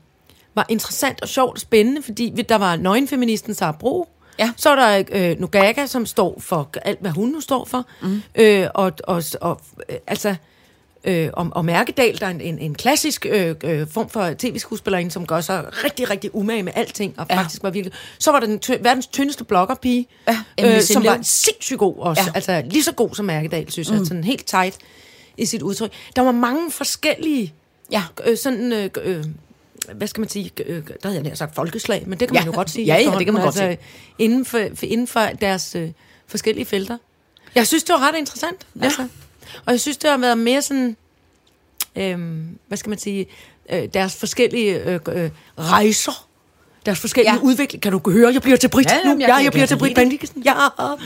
var interessant og sjovt og spændende, fordi vi- der var nøgenfeministen Sara Bro.
Ja.
Så er der øh, Nugaga, som står for alt, hvad hun nu står for. Mm. Øh, og, og, og, øh, altså, øh, og, og Mærkedal, der er en, en, en klassisk øh, øh, form for tv-skuespillerinde, som gør sig rigtig, rigtig umage med alting, og
Ja.
ja. faktisk var virkelig... Så var der den ty- verdens tyndeste bloggerpige,
Ja, Emily
øh, som
Sindlev.
var sindssygt god også.
Ja.
Ja. Altså lige så god som Mærkedal, synes jeg. Sådan helt tight i sit udtryk. Der var mange forskellige
Ja.
øh, sådan... Øh, øh, hvad skal man sige, øh, der havde jeg nær sagt folkeslag, men det kan
Ja.
man jo godt sige.
Ja, ja, det
efterhånden. altså,
kan man godt
Inden for, for, inden for deres øh, forskellige felter. Jeg synes, det var ret interessant. Ja. Altså. Og jeg synes, det har været mere sådan, øh, hvad skal man sige, øh, deres forskellige øh, øh, rejser, deres forskellige
Ja.
ja. udvikling. Kan du høre, jeg bliver til Brit
Ja,
ja,
jamen,
nu?
jeg
Jeg,
kan- jeg
jeg,
kan
jeg bliver til Brit
lide
Bendiksen. Ja.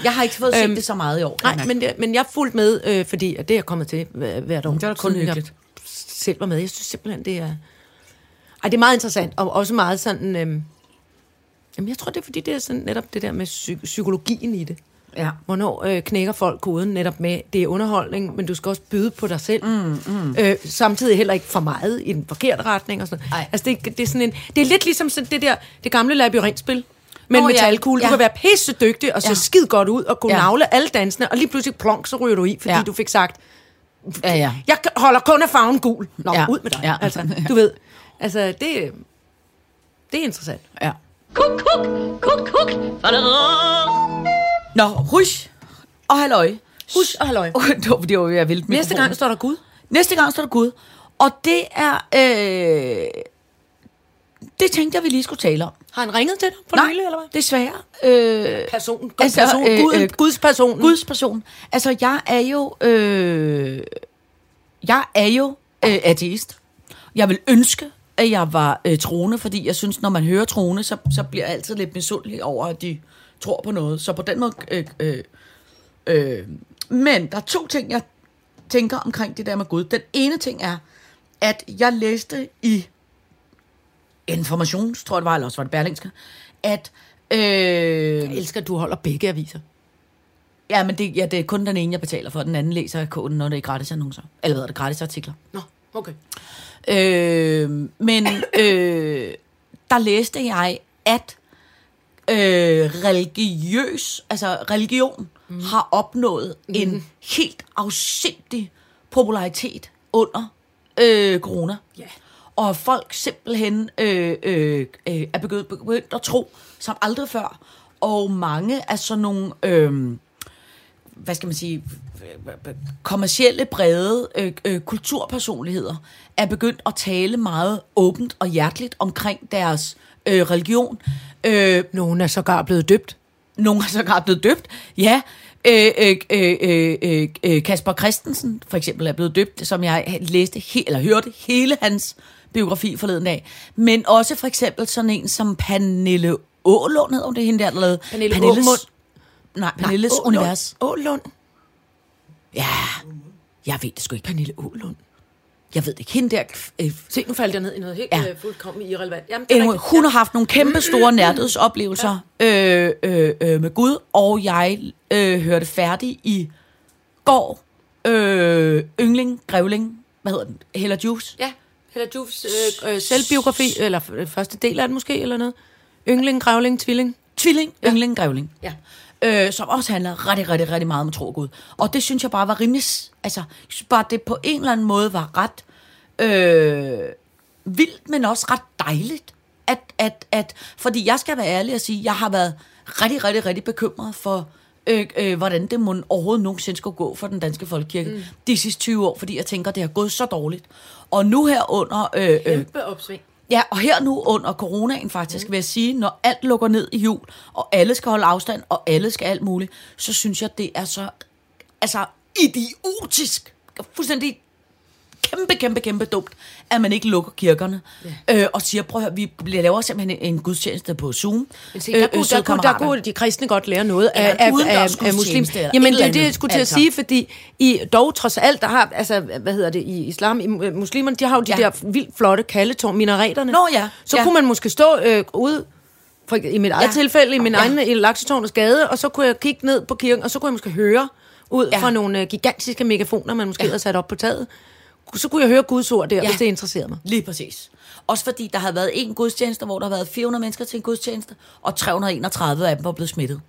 Jeg har ikke fået set
Øhm,
det så meget i år. kan jeg
Nej,
mærke.
men, det- men jeg er fuldt med, øh, fordi at det er jeg kommet til hver- hvert år. Det
er da kun hyggeligt.
Jeg selv var med. Jeg synes simpelthen, det er... Ej, det er meget interessant, og også meget sådan... Øh, øhm, Jamen, jeg tror, det er fordi, det er sådan netop det der med psy- psykologien i det.
Ja.
Hvornår øh, knækker folk koden netop med, det er underholdning, men du skal også byde på dig selv. Mm, mm. Øh, samtidig heller ikke for meget i den forkerte retning og sådan noget.
Ej.
Altså, det, det, er sådan en, det er lidt ligesom sådan det der, det gamle labyrintspil. Men
Nå,
oh, med
ja.
talkugle, ja.
Ja.
du kan være pisse dygtig og se
Ja.
ja. skid godt ud og kunne
Ja.
ja. navle alle dansene, og lige pludselig plonk, så ryger du i, fordi
Ja.
ja. du fik sagt,
Ja, ja.
jeg kan- holder kun af farven gul. Nå,
Ja.
ja. ud med dig.
Ja.
Ja. Altså, du ved. Altså, det, det er interessant.
ja.
Kuk, kuk, kuk, kuk. Fadadadada.
Nå, hush og halløj.
Husk og halløj.
Okay, det var, fordi jeg var ved at vælte
Næste gang står der Gud.
Næste gang står der Gud. Og det er... Øh, det tænkte jeg, vi lige skulle tale om.
Har han ringet til dig for
Nej,
nylig, eller hvad?
desværre. Øh,
Person,
Altså,
altså, person,
øh,
øh, Gud,
øh,
øh, Guds person.
Guds person. Altså, jeg er jo... Øh, jeg er jo øh, ateist. Jeg vil ønske, at jeg var øh, troende, fordi jeg synes, når man hører troende, så, så bliver jeg altid lidt misundelig over, at de tror på noget. Så på den måde... Øh, øh, øh. Men der er to ting, jeg tænker omkring det der med Gud. Den ene ting er, at jeg læste i Information, tror jeg det var, eller også var det Berlingske, at... Øh,
Jeg elsker, at du holder begge aviser.
Ja, men det, ja, det er kun den ene, jeg betaler for. Den anden læser jeg kun, når det er gratis annoncer. Eller hvad er det, gratis artikler.
Nå, okay.
Øh, men øh, der læste jeg, at øh, religiøs, altså religion mm. har opnået mm. en helt afsindig popularitet under øh, corona.
Ja.
Og at folk simpelthen øh, øh, øh, er begyndt, begyndt at tro som aldrig før. Og mange af sådan nogle... Øh, hvad skal man sige, kommercielle, brede øh, øh, kulturpersonligheder er begyndt at tale meget åbent og hjerteligt omkring deres øh, religion. Øh,
Nogen er sågar blevet døbt.
nogle er sågar blevet døbt. Ja, øh, øh, øh, øh, øh, øh, Kasper Christensen for eksempel er blevet døbt, som jeg læste he- eller hørte hele hans biografi forleden dag. Men også for eksempel sådan en som Pernille Ålund, hedder hun det hende der, der lavede?
Pernille
Pernilles,
Aamund.
Nej, Pernilles Nej, Univers.
Ålund.
Ja, jeg ved det sgu ikke.
Pernille Ålund.
Jeg ved det ikke. Hende der, øh,
Se, nu faldt jeg ned i noget helt
Ja.
ja. øh, fuldkommen irrelevant. Jamen, det er
anyway,
rigtigt.
hun har haft nogle kæmpe store nærdødsoplevelser øh, øh, øh, med Gud, og jeg øh, hørte færdig i går øh, Yngling, Grevling, hvad hedder den? Heller Juice.
Ja, Hella Jufs øh, øh, selvbiografi, eller f- første del af den måske, eller noget. Yngling, grævling, tvilling.
Tvilling, Yngling, Grevling.
Ja.
øh, som også handler rigtig, rigtig, rigtig meget om tro og Gud. Og det synes jeg bare var rimelig... s- Altså, jeg synes bare det på en eller anden måde var ret øh, vildt, men også ret dejligt. At, at, at, fordi jeg skal være ærlig og sige, jeg har været rigtig, rigtig, rigtig bekymret for, øh, øh, hvordan det må overhovedet nogensinde skulle gå for den danske folkekirke mm. de sidste 20 år, fordi jeg tænker, det har gået så dårligt. Og nu her under øh, øh,
Kæmpe opsving.
Ja, og her nu under coronaen faktisk, mm. vil jeg sige, når alt lukker ned i jul, og alle skal holde afstand, og alle skal alt muligt, så synes jeg, det er så altså, idiotisk, fuldstændig kæmpe, kæmpe, kæmpe dumt, at man ikke lukker kirkerne, øh, og siger, prøv at høre, vi laver simpelthen en, en gudstjeneste på Zoom.
Men se, der, kunne,
søde
der, kunne, der
kammerater.
kunne de kristne godt lære noget af,
Øh, Eller
af,
en udendørs
af, af
gudstjeneste
muslimer.
eller et
Jamen, det
eller
er det,
andet,
jeg skulle til
altså.
at sige, fordi i dog trods alt, der har, altså, hvad hedder det, i islam, i mu- muslimerne, de har jo de
Ja.
ja. der vildt flotte kaldetårn, minareterne.
Nå ja,
Så
ja.
kunne man måske stå øh, ude, for, i mit eget
Ja.
ja. tilfælde, i min
Ja.
ja. egen i Laksetårnets gade, og så kunne jeg kigge ned på kirken, og så kunne jeg måske høre ud
Ja.
ja. fra nogle øh, gigantiske megafoner, man måske ja. havde sat op på taget. Så kunne jeg høre Guds ord der, ja. hvis det interesserede mig.
Lige præcis. Også fordi der havde været en gudstjeneste, hvor der havde været 400 mennesker til en gudstjeneste, og 331 af dem var blevet smittet.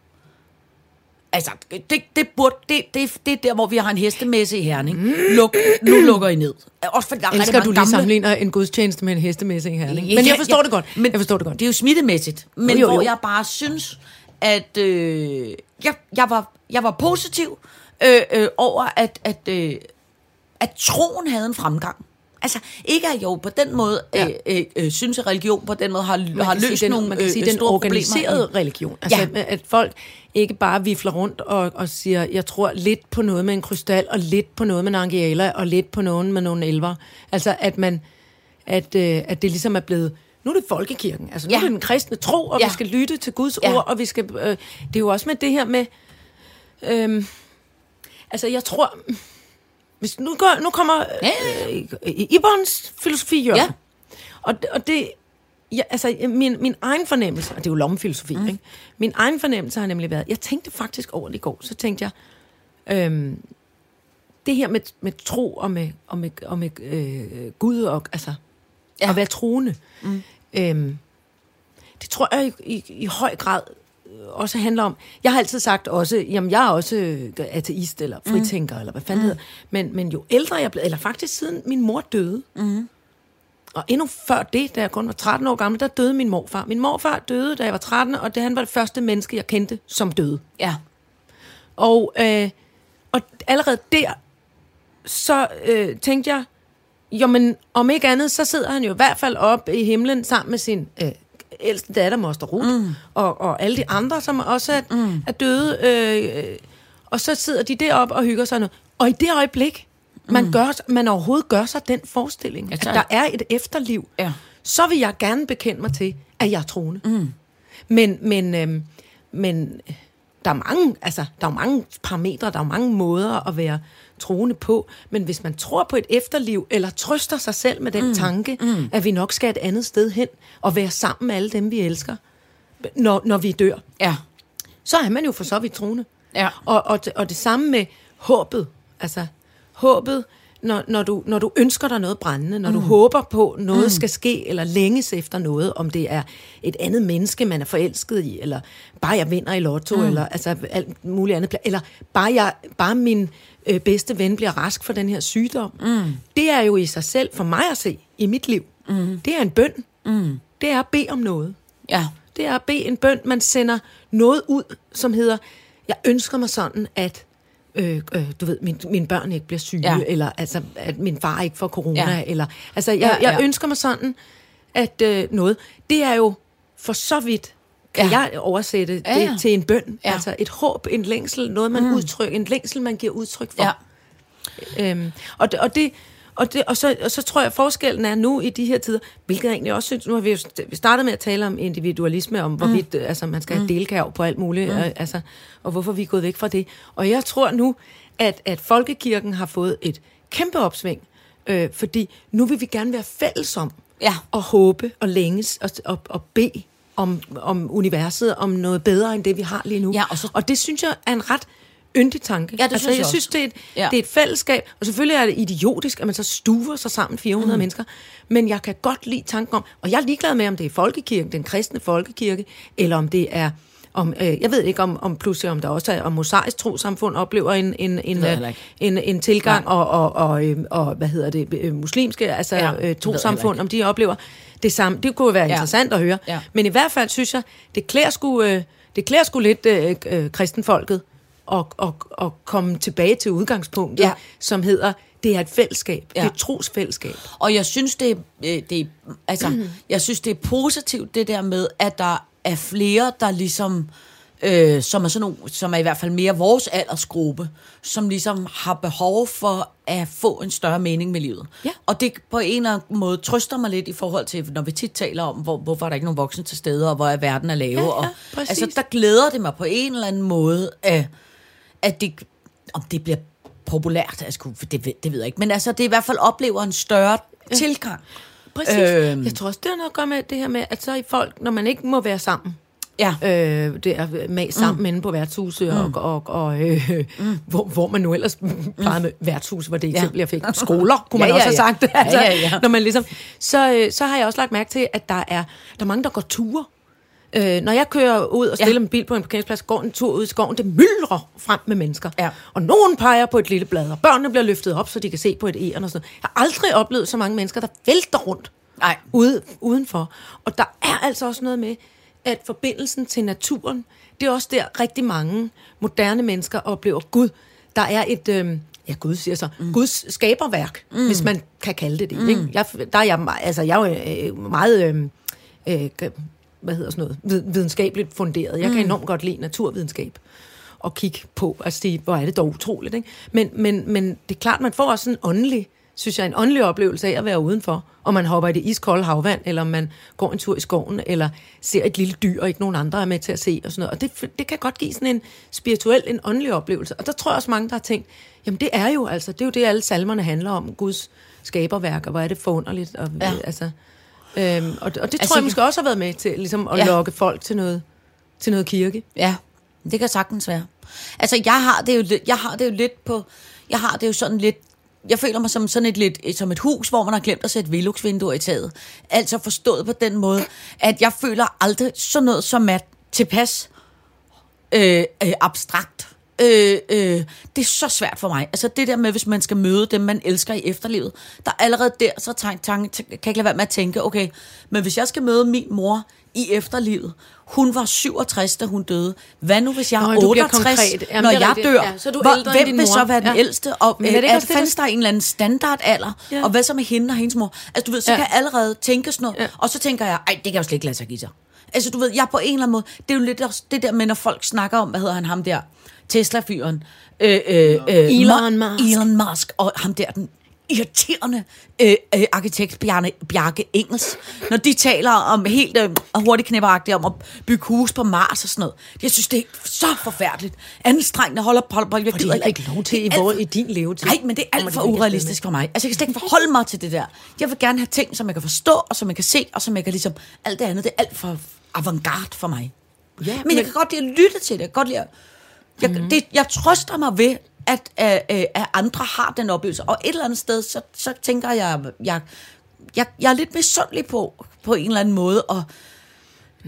Altså, det, det, burde, det, det, det er der, hvor vi har en hestemesse i Herning. Luk, nu lukker I ned. Også fordi der er rigtig
Elsker,
mange
du ligesom lige
gamle...
sammenligner en gudstjeneste med en hestemesse i Herning.
Ja,
Men jeg forstår
ja,
det godt. Men, jeg forstår det godt.
Det er jo smittemæssigt. Men jo,
Jo,
jo,
jo,
hvor
jo.
jeg bare synes, at øh, jeg, jeg, var, jeg var positiv øh, øh, over, at, at, øh, at troen havde en fremgang. Altså, ikke at jeg jo på den måde ja.
Ja.
øh, øh, synes, at religion på den måde har, har
kan sige,
løst
den,
nogle
man kan
øh,
sige,
øh,
den
store
organiserede
problemer. i-
religion. Altså,
Ja.
ja. at folk ikke bare vifler rundt og, og siger, jeg tror lidt på noget med en krystal, og lidt på noget med en angela, og lidt på nogen med nogle elver. Altså, at man, at, øh, at det ligesom er blevet, nu er det folkekirken, altså nu
Ja.
er det den kristne tro, og
Ja.
ja. vi skal lytte til Guds
Ja.
ja. ord, og vi skal, øh, det er jo også med det her med, øhm, altså jeg tror, hvis nu, går, nu kommer øh, øh, Ibons filosofi, Jørgen.
Ja.
Og, det- og det, Ja, altså, min, min egen fornemmelse, og det er jo lommefilosofi, mm. ikke? min egen fornemmelse har nemlig været, jeg tænkte faktisk over det i går, så tænkte jeg, øhm, det her med, med tro og med, og med, og med øh, Gud, og altså, ja. at være troende, mm. øhm, det tror jeg i, i, i høj grad øh, også handler om, jeg har altid sagt også, jamen jeg er også øh, ateist, eller fritænker, mm. eller hvad fanden mm. hedder, men, men jo ældre jeg blev, eller faktisk siden min mor døde, og endnu før det, da jeg kun var 13 år gammel, der døde min morfar. Min morfar døde, da jeg var 13, og det, han var det første menneske, jeg kendte, som døde.
Ja.
Og, øh, og allerede der, så øh, tænkte jeg, jamen om ikke andet, så sidder han jo i hvert fald op i himlen sammen med sin øh, ældste datter, Moster Ruth, mm. og, og alle de andre, som også er, mm. er døde. Øh, øh, og så sidder de deroppe og hygger sig noget. Og i det øjeblik, man, mm. gør, man overhovedet gør sig den forestilling, at
tak.
der er et efterliv,
Ja.
så vil jeg gerne bekende mig til, at jeg er troende. Mm. Men, men, øhm, men øh, der er mange, altså, der er jo mange parametre, der er jo mange måder at være troende på, men hvis man tror på et efterliv, eller trøster sig selv med den mm. tanke, mm. at vi nok skal et andet sted hen, og være sammen med alle dem, vi elsker, når, når vi dør,
Ja.
så er man jo for så vidt troende.
Ja.
Og, og, det- og det samme med håbet. Altså, håbet, når, når, du, når du ønsker dig noget brændende, når mm. du håber på, noget mm. skal ske, eller længes efter noget, om det er et andet menneske, man er forelsket i, eller bare jeg vinder i lotto, mm. eller altså alt muligt andet, pla- eller bare, jeg, bare min øh, bedste ven bliver rask for den her sygdom. Mm. Det er jo i sig selv, for mig at se, i mit liv, mm. det er en bøn. Mm. Det er at bede om noget
Ja.
det er at bede en bøn. Man sender noget ud, som hedder, jeg ønsker mig sådan, at øh, øh, du ved, min, mine børn ikke bliver syge,
Ja.
ja. eller altså, at min far ikke får corona,
Ja.
ja. eller altså, jeg,
Ja,
ja,
ja.
jeg ønsker mig sådan, at øh, noget. Det er jo for så vidt, kan
Ja.
ja. jeg oversætte det
Ja,
ja,
ja.
ja. til en bøn.
Ja.
Ja. Altså et håb, en længsel, noget man mm. udtrykker, en længsel, man giver udtryk for.
Ja.
Ja. Øhm, og, det, og, det, og, det, og, så, og så tror jeg, at forskellen er nu i de her tider, hvilket jeg egentlig også synes, nu har vi jo st- vi startet med at tale om individualisme, om hvorvidt mm. altså, man skal have delkærv på alt muligt, mm. og, altså, og hvorfor vi er gået væk fra det. Og jeg tror nu, at, at folkekirken har fået et kæmpe opsving, øh, fordi nu vil vi gerne være fælles om
Ja.
at håbe og længes og, og, og bede om, om universet, om noget bedre end det, vi har lige nu.
Ja, og så-
og det synes jeg er en ret yndig tanke.
Ja, det
altså,
synes jeg
jeg
også.
synes, det er, et,
Ja.
ja. det er et fællesskab, og selvfølgelig er det idiotisk, at man så stuver sig sammen 400 mm. mennesker, men jeg kan godt lide tanken om, og jeg er ligeglad med, om det er folkekirken, den kristne folkekirke, eller om det er om, øh, jeg ved ikke, om, om pludselig om der også er, om mosaisk trosamfund oplever en, en, en,
jeg
øh,
heller ikke.
en, en tilgang, og, og, og, øh, og, hvad hedder det, øh, muslimske, altså
Ja,
ja,
det ved jeg
øh,
heller
trosamfund, om de oplever det samme. Det kunne jo være
Ja.
interessant at høre.
Ja.
Men i hvert fald synes jeg, det klæder sgu, øh, det klæder sgu lidt øh, øh, kristenfolket at, at, at komme tilbage til udgangspunktet,
Ja.
ja. som hedder, det er et fællesskab.
Ja.
Ja. Det er et trosfællesskab.
Og jeg synes det er, øh, det er altså jeg synes det er positivt det der med at der er flere der ligesom øh, som er sådan nogle, som er i hvert fald mere vores aldersgruppe, som ligesom har behov for at få en større mening med livet.
Ja.
Og det på en eller anden måde trøster mig lidt i forhold til, når vi tit taler om, hvor, hvorfor er der ikke nogen voksne til stede, og hvor er verden er lave.
ja,
og,
præcis.
altså, der glæder det mig på en eller anden måde, at, at det, om det bliver populært, altså, gud, det, ved- det ved jeg ikke, men altså, det i hvert fald oplever en større tilgang.
Præcis.
Øhm.
Øhm. Jeg tror også, det har noget at gøre med det her med, at så er folk, når man ikke må være sammen,
Ja,
øh, der med sammen mm. inde på værtshuset, mm. og, og, og øh, mm. hvor, hvor man nu ellers plejede med værtshus, hvor det eksempel, jeg fik. Skoler, kunne man
Mm. Ja,
ja,
ja,
også have
ja.
sagt.
Ja, ja, ja.
Når man ligesom, så, øh, så har jeg også lagt mærke til, at der er, der er mange, der går ture. Øh, når jeg kører ud og stiller
Ja.
ja. min bil på en parkeringsplads, går en tur ud i skoven, det myldrer frem med mennesker.
Ja.
Og nogen peger på et lille blad, og børnene bliver løftet op, så de kan se på et æren og sådan noget. Jeg har aldrig oplevet så mange mennesker, der vælter rundt
Nej.
ude, udenfor. Og der er altså også noget med, at forbindelsen til naturen, det er også der rigtig mange moderne mennesker oplever Gud. Der er et, øh, ja Gud siger så, mm. Guds skaberværk, mm. hvis man kan kalde det det. Mm. Ikke? Jeg, der er jeg, me- altså, jeg er jo øh, meget... Øh, øh, g- hvad hedder sådan noget, vid- videnskabeligt funderet. Jeg kan enormt godt lide naturvidenskab og kigge på og sige, hvor er det dog utroligt. Ikke? Men, men, men det er klart, man får også en åndelig, synes jeg, en åndelig oplevelse af at være udenfor. Om man hopper i det iskolde havvand, eller om man går en tur i skoven, eller ser et lille dyr, og ikke nogen andre er med til at se. Og sådan noget. Og det, det kan godt give sådan en spirituel, en åndelig oplevelse. Og der tror jeg også mange, der har tænkt, jamen det er jo altså, det er jo det, alle salmerne handler om. Guds skaberværk, og hvor er det forunderligt. Og,
Ja.
ja. altså, Øhm, og, det- og det altså,
Altså,
tror jeg
jeg-
måske også har været med til ligesom at ja.
Ja.
lokke folk til noget, til noget kirke.
Ja, det kan sagtens være. Altså, jeg har det jo lidt, jeg har det jo lidt på... Jeg har det jo sådan lidt... Jeg føler mig som sådan et, lidt, som et hus, hvor man har glemt at sætte veluxvinduer i taget. Altså forstået på den måde, at jeg føler aldrig sådan noget som at tilpas øh, øh, abstrakt. Øh, øh, det er så svært for mig. Altså det der med, hvis man skal møde dem, man elsker i efterlivet, der er allerede der, så tank, tank, kan jeg ikke lade være med at tænke, okay, men hvis jeg skal møde min mor i efterlivet, hun var 67, da hun døde. Hvad nu, hvis jeg
Nå,
er
ja, du bliver
68,
konkret. Jamen,
når
det er
jeg
rigtigt.
dør?
Ja, så er du
Hvor-
ældre end
hvem
din
vil så
mor.
være den
Ja.
ældste? Og,
Men er det ikke
øh,
også det, der-
fandt der en eller anden standardalder?
Ja.
Ja. Og hvad så med hende og hendes mor? Altså du ved, så
Ja.
ja. kan jeg allerede tænke sådan noget.
Ja.
Ja. Og så tænker jeg, ej, det kan jeg jo slet ikke lade sig give sig. Altså du ved, jeg på en eller anden måde, det er jo lidt også det der med, når folk snakker om, hvad hedder han ham der, Tesla-fyren. Øh, øh, øh,
Elon
Ma-
Musk.
Elon Musk og ham der, den irriterende øh, øh, arkitekt Bjarne, Bjarke Engels, når de taler om helt øh, hurtigknæpperagtigt om at bygge hus på Mars og sådan noget. Jeg synes, det er så forfærdeligt. Anstrengende holder på, på, på jeg
Og det
gider
er ikke lov til i,
Det er alt
vor,
for-
i din levetid.
Nej, men det er alt for urealistisk for mig. Altså, jeg kan slet ikke forholde mig til det der. Jeg vil gerne have ting, som jeg kan forstå, og som jeg kan se, og som jeg kan ligesom... Alt det andet, det er alt for avantgarde for mig.
Ja,
men, men jeg kan godt lide at lytte til det. Jeg, kan godt lide at, jeg, mm-hmm. det, jeg trøster mig ved, at, øh, øh, at andre har den oplevelse. Og et eller andet sted, så, så tænker jeg... jeg jeg, jeg er lidt misundelig på, på en eller anden måde, og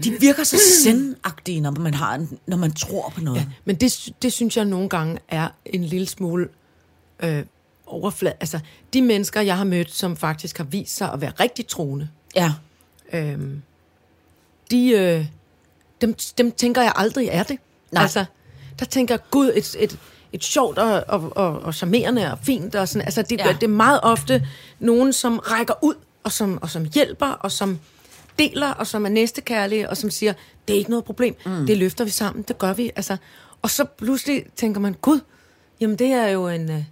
de virker så sendagtige, når man, har en, når man tror på noget. Ja.
Men det, sy- det synes jeg nogle gange er en lille smule øh, overflad. Altså, de mennesker, jeg har mødt, som faktisk har vist sig at være rigtig troende,
ja.
øhm, de, øh, dem, dem tænker jeg aldrig er det.
Nej.
Altså, der tænker jeg, gud, et, et, et sjovt og, og, og, og charmerende og fint. Og sådan. Altså, det, ja.
Ja.
det er meget ofte nogen, som rækker ud, og som, og som hjælper, og som deler, og som er næstekærlige, og som siger, det er ikke noget problem, mm. det løfter vi sammen, det gør vi. Altså, og så pludselig tænker man, gud, jamen det er jo en... øh,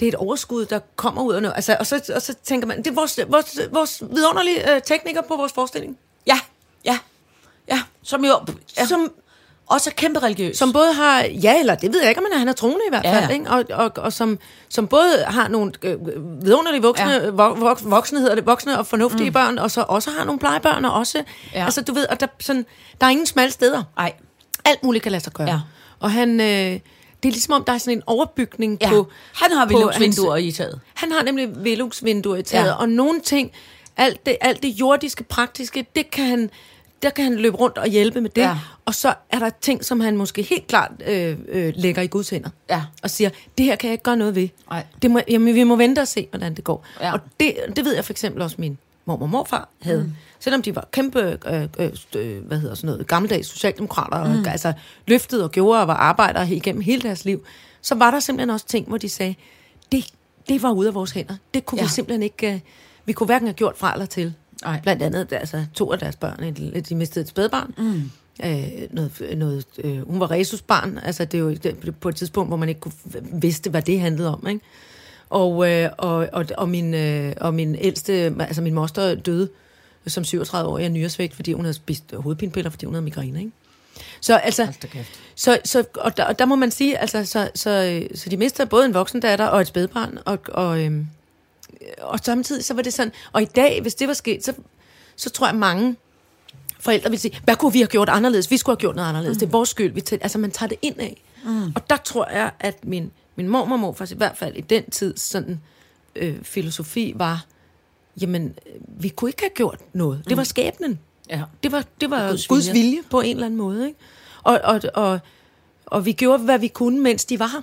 Det er et overskud, der kommer ud af noget. Altså, og, så, og så tænker man, det er vores, vores, vores vidunderlige øh, tekniker på vores forestilling.
Ja, ja, ja. Som jo ja. Som
Som,
også er kæmpe religiøs.
som både har, ja eller det ved jeg ikke, men han er troende i hvert
Ja,
fald,
ja.
ja. ikke? Og, og, og som, som både har nogle øh, vidunderlige voksne, ja.
Ja.
vo, vo, voksne, hedder det, voksne og fornuftige mm. børn, og så også har nogle plejebørn, og også, ja.
Ja.
altså du ved, og der, sådan, der er ingen smalle steder.
Ej,
Alt muligt kan lade sig gøre. Ja.
Ja.
Og han, øh, det er ligesom om, der er sådan en overbygning
ja. Altså-
på...
han har
på hans-
vinduer i taget.
han har nemlig veluxvinduer i taget, ja.
Ja.
og nogle ting, alt det, alt det jordiske, praktiske, det kan han, der kan han løbe rundt og hjælpe med det. Ja.
Ja.
Og så er der ting, som han måske helt klart øh, øh, lægger i Guds hænder.
Ja.
Og siger, det her kan jeg ikke gøre noget ved.
Nej.
Det må, jamen, vi må vente og se, hvordan det går.
Ja.
Og det, det ved jeg for eksempel også min mormor og morfar havde. Mm. Selvom de var kæmpe, øh, øh, st- øh, hvad hedder sådan noget, gammeldags socialdemokrater, mm. og, altså løftede og gjorde og var arbejdere he- igennem hele deres liv, så var der simpelthen også ting, hvor de sagde, det, det var ude af vores hænder. Det kunne ja. vi
Ja.
simpelthen ikke, øh, vi kunne hverken have gjort fra eller til.
Nej.
Blandt andet altså, to af deres børn, et- de mistede et spædbarn. Mm. Øh, noget, noget, øh, hun var Resus barn, altså det er jo det- på et tidspunkt, hvor man ikke kunne f- vidste, hvad det handlede om, ikke? Og, øh, og, og, og, min, øh, og min ældste, altså min moster døde som 37 år i nyresvægt, fordi hun havde spist hovedpinepiller, fordi hun havde migræne, ikke? Så altså, så, så, og, der, og der må man sige, altså, så, så, øh, så de mister både en voksen datter og et spædbarn, og, og, øhm, og samtidig så var det sådan, og i dag, hvis det var sket, så, så tror jeg mange forældre vil sige, hvad kunne vi have gjort anderledes? Vi skulle have gjort noget anderledes. Mm. Det er vores skyld. Vi tæ- altså, man tager det ind af. Mm. Og der tror jeg, at min, min mormor og morfar, i hvert fald i den tid, sådan øh, filosofi var, jamen, øh, vi kunne ikke have gjort noget. Det var skæbnen.
Ja.
Det var, det var
Guds
Guds, Guds
vilje.
vilje på en eller anden måde, ikke? Og, og, og, og vi gjorde, hvad vi kunne, mens de var her.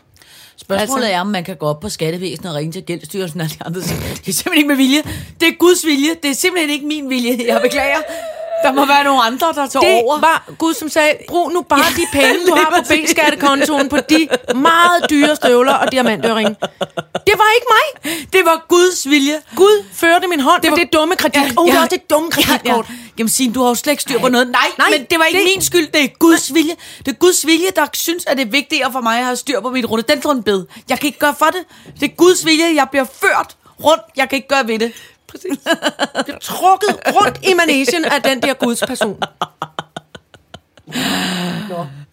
Spørgsmålet
Altså-
altså, er, om man kan gå op på skattevæsenet og ringe til gældstyrelsen og de andre. og sige, Det er simpelthen ikke med vilje. Det er Guds vilje. Det er simpelthen ikke min vilje. Jeg beklager. Der må være nogle andre, der tager
Det
over.
var Gud, som sagde, brug nu bare ja, de penge, du
lige
har på
præcis.
B-skattekontoen på de meget dyre støvler og diamantøring. Det var ikke mig.
det var Guds vilje.
Gud førte min hånd det var,
var-
det dumme kredit. Ja, oh, ja, det er også det dumme kreditkort. Ja, ja.
Jamen Signe, du har jo slet ikke styr på
Nej.
noget. Nej,
Nej,
Nej, men det var ikke
det-
det... min skyld. Det er Guds vilje. Det er Guds vilje, der synes, at det er vigtigere for mig at have styr på mit rhododendronbed. Jeg kan ikke gøre for det. Det er Guds vilje. Jeg bliver ført rundt. Jeg kan ikke gøre ved det.
Trukket rundt i manesien af den der Guds person.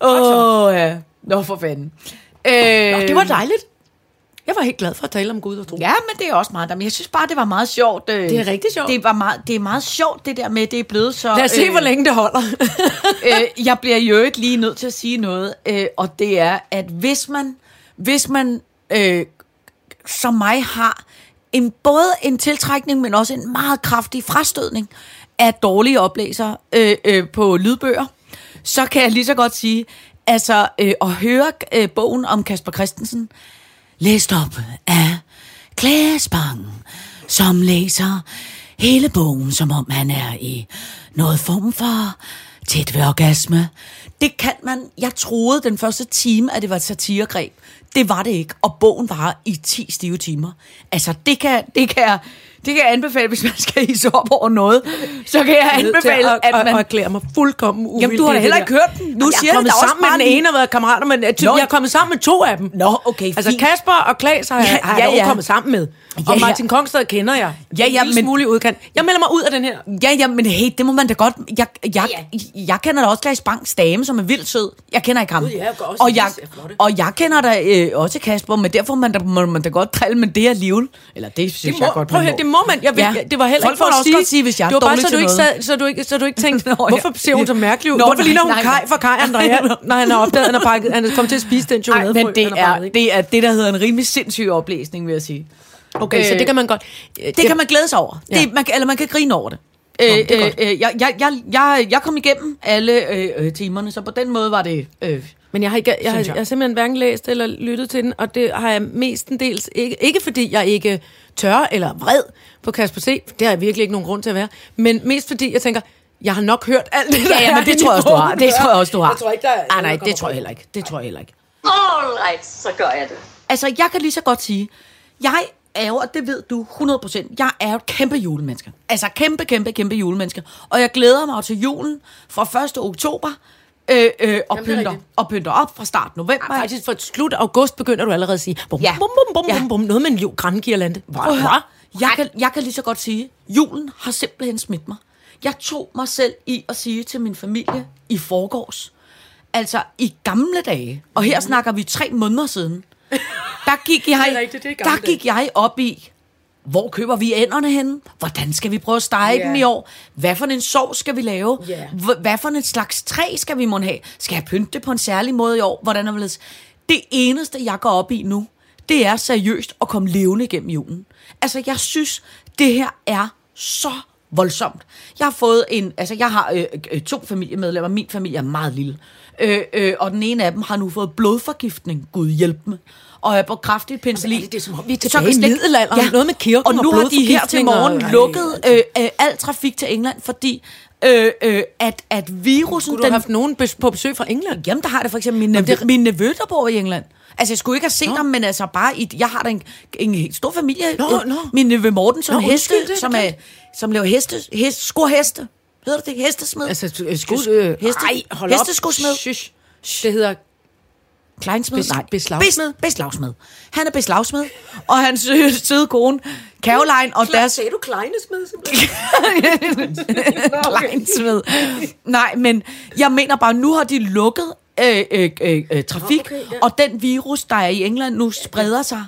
Åh, oh, ja. Nå, for fanden. Øh,
Øhm. Nå, det var dejligt. Jeg var helt glad for at tale om Gud og tro.
Ja, men det er også meget der. Men jeg synes bare, det var meget sjovt. øh,
Det er rigtig sjovt.
Det, var meget, det er meget sjovt, det der med, det er blevet så...
Lad os se, hvor længe det holder.
øh, jeg bliver jo ikke lige nødt til at sige noget, øh, og det er, at hvis man, hvis man øh, som mig har en, både en tiltrækning, men også en meget kraftig frastødning af dårlige oplæser øh, øh, på lydbøger, så kan jeg lige så godt sige, altså øh, at høre øh, bogen om Kasper Christensen, læst op af Claes Bang, som læser hele bogen, som om han er i noget form for tæt ved orgasme. Det kan man. Jeg troede den første time, at det var et satiregreb. Det var det ikke, og bogen var i 10 stive timer. Altså, det kan, det kan, jeg, det kan jeg anbefale, hvis man skal hisse op over noget. Så kan jeg anbefale,
at,
at
at,
man...
at erklære mig fuldkommen uvildig.
Jamen, du har da
i det
heller
der.
ikke hørt den. Nu
jeg
siger jeg
er kommet
da også
sammen
bare
med den
lige-
ene og været kammerater, men jeg,
Nå.
jeg er kommet sammen med to af dem.
Nå, okay,
Altså
fint.
Kasper og Klaas har, ja,
Ja,
har
ja,
jeg dog
ja.
kommet sammen med.
Ja,
og
ja.
Martin Kongstad kender jeg.
Ja, ja,
en lille
men-
smule i udkant. Jeg melder mig ud af den her.
Ja, ja, men hey, det må man da godt... Jeg, jeg, jeg, jeg kender da også Claes Bangs dame, som er vildt sød. Jeg kender ikke ham.
Gud, ja, jeg går også
og,
til
jeg,
Lis, er flotte.
og jeg kender da øh, også Kasper, men derfor man da, må man da godt drille med det alligevel. Eller det synes
Det
jeg
må,
godt,
prøv at høre, det må man. Jeg vil,
Ja.
ja. Det var heller
Folk
ikke for
må da
at
også
sige,
godt sige, hvis jeg er
det var bare,
dårlig
så
til
du, ikke
noget.
sad, så, du ikke, så du ikke tænkte,
Nå,
Nå, hvorfor
ja.
ser hun så mærkelig ud?
Nå,
Nå, hvorfor
nej,
ligner hun
nej,
Kai
nej.
fra Kai Andrea, når han har opdaget, at han er, pakket, han er kommet til at spise den
Ej,
chokoladefrø,
men det
han har
er,
pakket, ikke?
det er det, der hedder en rimelig sindssyg oplæsning, vil jeg sige.
Okay, så
øh,
det kan man godt. Det
Det kan man glæde sig over.
Ja.
Det, man, kan- eller man kan grine over det. Øh,
det er
øh, øh, jeg, jeg, jeg, jeg, jeg kom igennem alle øh, øh, timerne, så på den måde var det... Øh,
Men jeg har, ikke, jeg, jeg, har,
Synes
jeg
jeg.
har simpelthen hverken læst eller lyttet til den, og det har jeg mestendels ikke. Ikke fordi jeg ikke tør eller vred på Kasper C. for Det har jeg virkelig ikke nogen grund til at være. Men mest fordi jeg tænker, jeg har nok hørt alt det der.
ja, ja, men
er
det tror jeg også, du har. Det tror jeg også, du har.
Jeg tror ikke, der er...
Ah, nej, det tror jeg heller ikke. Det tror jeg heller ikke.
All right, så gør jeg det.
Altså, jeg kan lige så godt sige, jeg er jo, og det ved du 100%, jeg er jo et kæmpe julemenneske. Altså, kæmpe, kæmpe, kæmpe julemenneske. Og jeg glæder mig jo til julen fra 1. oktober, øh, øh, og,
er
pynter,
rigtigt.
og pynter op fra start november.
Nej, faktisk for slut august begynder du allerede at sige, bum,
Ja.
ja. bum, bum, bum,
Ja.
bum, bum, noget med en jo- grangirlande. Hva?
Prøv at høre.
Hva?
Jeg kan, jeg kan lige så godt sige, julen har simpelthen smidt mig. Jeg tog mig selv i at sige til min familie i forgårs, altså i gamle dage, og her snakker vi tre måneder siden, der gik jeg,
Mhm. Det er rigtigt, det er gamle
der gik jeg op i, hvor køber vi ænderne henne? Hvordan skal vi prøve at stege yeah. dem i år? Hvad for en sov skal vi lave?
Ja.
Hv- Hvad for en slags træ skal vi måtte have? Skal jeg pynte det på en særlig måde i år? Hvordan er det? Det eneste, jeg går op i nu, det er seriøst at komme levende igennem julen. Altså, jeg synes, det her er så voldsomt. Jeg har fået en, altså jeg har øh, øh, to familiemedlemmer, min familie er meget lille, øh, øh, og den ene af dem har nu fået blodforgiftning, Gud hjælp mig, og er på kraftigt penicillin.
det er, som om vi er tilbage i middelalderen. Noget med kirken
og nu
og
har de her til
blodforgiftning
morgen
og- Ej,
lukket øh, øh, al trafik til England, fordi øh, øh, at, at virusen...
Skulle du have haft nogen bes- på besøg fra England?
Jamen, der har det for eksempel min, nevø,
det-
min nevø, der bor i England. Altså, jeg skulle ikke have set ham, men altså bare... I, jeg har da en, en helt stor familie.
Nå,
Øh,
nå.
Min nevø Morten, som,
Nå,
nå, heste,
undskyld, det er
som, er,
bekendt.
som laver heste, hest, skorheste. Hedder det det? Hestesmed?
Altså,
Heste-
øh, skud... Øh,
heste,
ej, hold op.
hesteskosmed.
Shush. Det hedder
Kleinsmed?
Bes-
Nej.
beslagsmed?
Bes, beslagsmed. Han er beslagsmed, og hans søde, søde kone, Caroline, og deres...
du kleinesmed simpelthen?
Kleinsmed. Nej, men jeg mener bare, nu har de lukket øh, øh, øh, øh, trafik,
Nå, okay,
okay,
ja.
ja. og den virus, der er i England nu, spreder sig.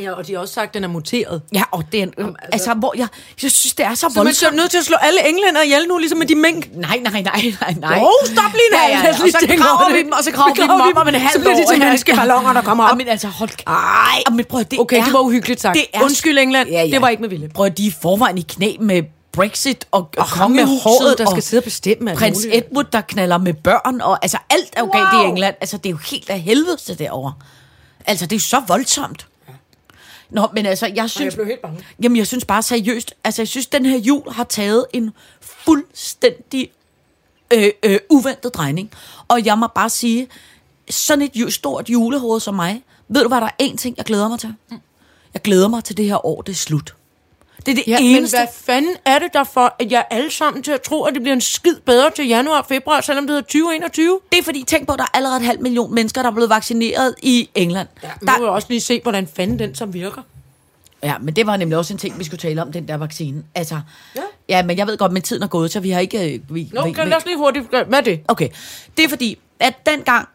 Ja, og de har også sagt, at den er muteret.
Ja, og den, øh, altså, hvor jeg, jeg synes, det er så,
Så man
voldsomt.
er nødt til at slå alle englænder ihjel nu, ligesom med de mink.
Nej, nej, nej, nej, nej.
Jo, stop lige nu.
Ja, ja,
Lad
ja.
os
Og
lige
så
tænke over
graver vi
det.
dem, og så graver
Så
vi dem
graver vi
op om en
dem.
halv
Så bliver de
år,
til
ja.
menneskeballoner, der kommer op.
Ja, Men altså, hold kæft. Ej, men prøv, at- det
Okay,
er,
det var uhyggeligt sagt.
Det er,
Undskyld, England.
Ja, ja.
Det var ikke med vilje.
Prøv, at de er i forvejen i knæ med Brexit og, og, og
ham med
kongehuset.
håret, der
og
skal sidde og bestemme alt
Prins
muligt.
Edward, der knaller med børn, og altså alt er jo wow. galt i England. Altså, det er jo helt af helvede til derovre. Altså, det er jo så voldsomt. Nå, men altså, jeg synes...
blev helt bange.
Jamen, jeg synes bare seriøst, altså, jeg synes, den her jul har taget en fuldstændig øh, øh, uventet drejning. Og jeg må bare sige, sådan et ju- stort julehoved som mig, ved du hvad, der er én ting, jeg glæder mig til? Jeg glæder mig til det her år, det er slut. Det er det
Ja, men
eneste.
hvad fanden er det der for, at jeg er alle sammen til at tro, at det bliver en skid bedre til januar og februar, selvom det hedder 2021?
Det er fordi, tænk på, der er allerede en halv million mennesker, der er blevet vaccineret i England. Ja,
Der... Nu vil jeg også lige se, hvordan fanden den som virker.
Ja, men det var nemlig også en ting, vi skulle tale om, den der vaccine. Altså, ja, ja men jeg ved godt, men tiden er gået, så vi har ikke... øh, Vi,
Nå,
vi,
kan lad os lige hurtigt... Hvad er det?
Okay, det er fordi, at dengang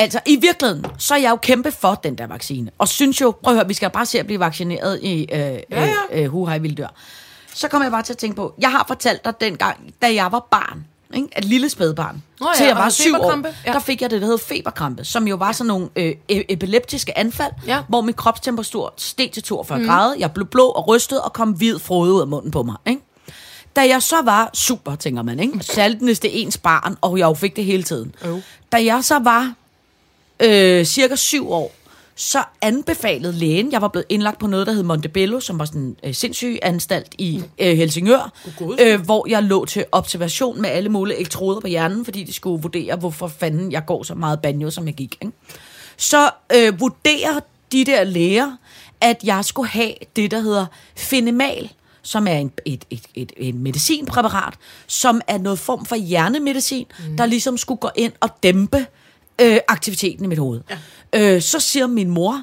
Altså, i virkeligheden, så er jeg jo kæmpe for den der vaccine. Og synes jo, prøv at høre, vi skal bare se at blive vaccineret i øh, ja, ja. øh, øh, huhej vildør. Så kom jeg bare til at tænke på, jeg har fortalt dig dengang, da jeg var barn, ikke? et lille spædbarn,
Nå
oh,
ja,
til jeg
og
var
havde
syv år,
feberkrampe.
ja.
Ja.
der fik jeg det, der hed feberkrampe, som jo var sådan nogle øh, e- epileptiske anfald,
Ja.
hvor min kropstemperatur steg til 42 mm. grader, jeg blev blå og rystet og kom hvid frode ud af munden på mig. Ikke? Da jeg så var super, tænker man, ikke? saltneste ens barn, og jeg jo fik det hele tiden.
Øv.
Da jeg så var øh, cirka syv år, så anbefalede lægen, jeg var blevet indlagt på noget, der hed Montebello, som var sådan en øh, sindssyg anstalt i øh, Helsingør, øh, hvor jeg lå til observation med alle mulige elektroder på hjernen, fordi de skulle vurdere, hvorfor fanden jeg går så meget banjo, som jeg gik. Ikke? Så øh, vurderer de der læger, at jeg skulle have det, der hedder fenemal, som er en, et, et, et, et medicinpræparat, som er noget form for hjernemedicin, mm. der ligesom skulle gå ind og dæmpe øh, aktiviteten i mit hoved. Ja. Øh, så siger min mor,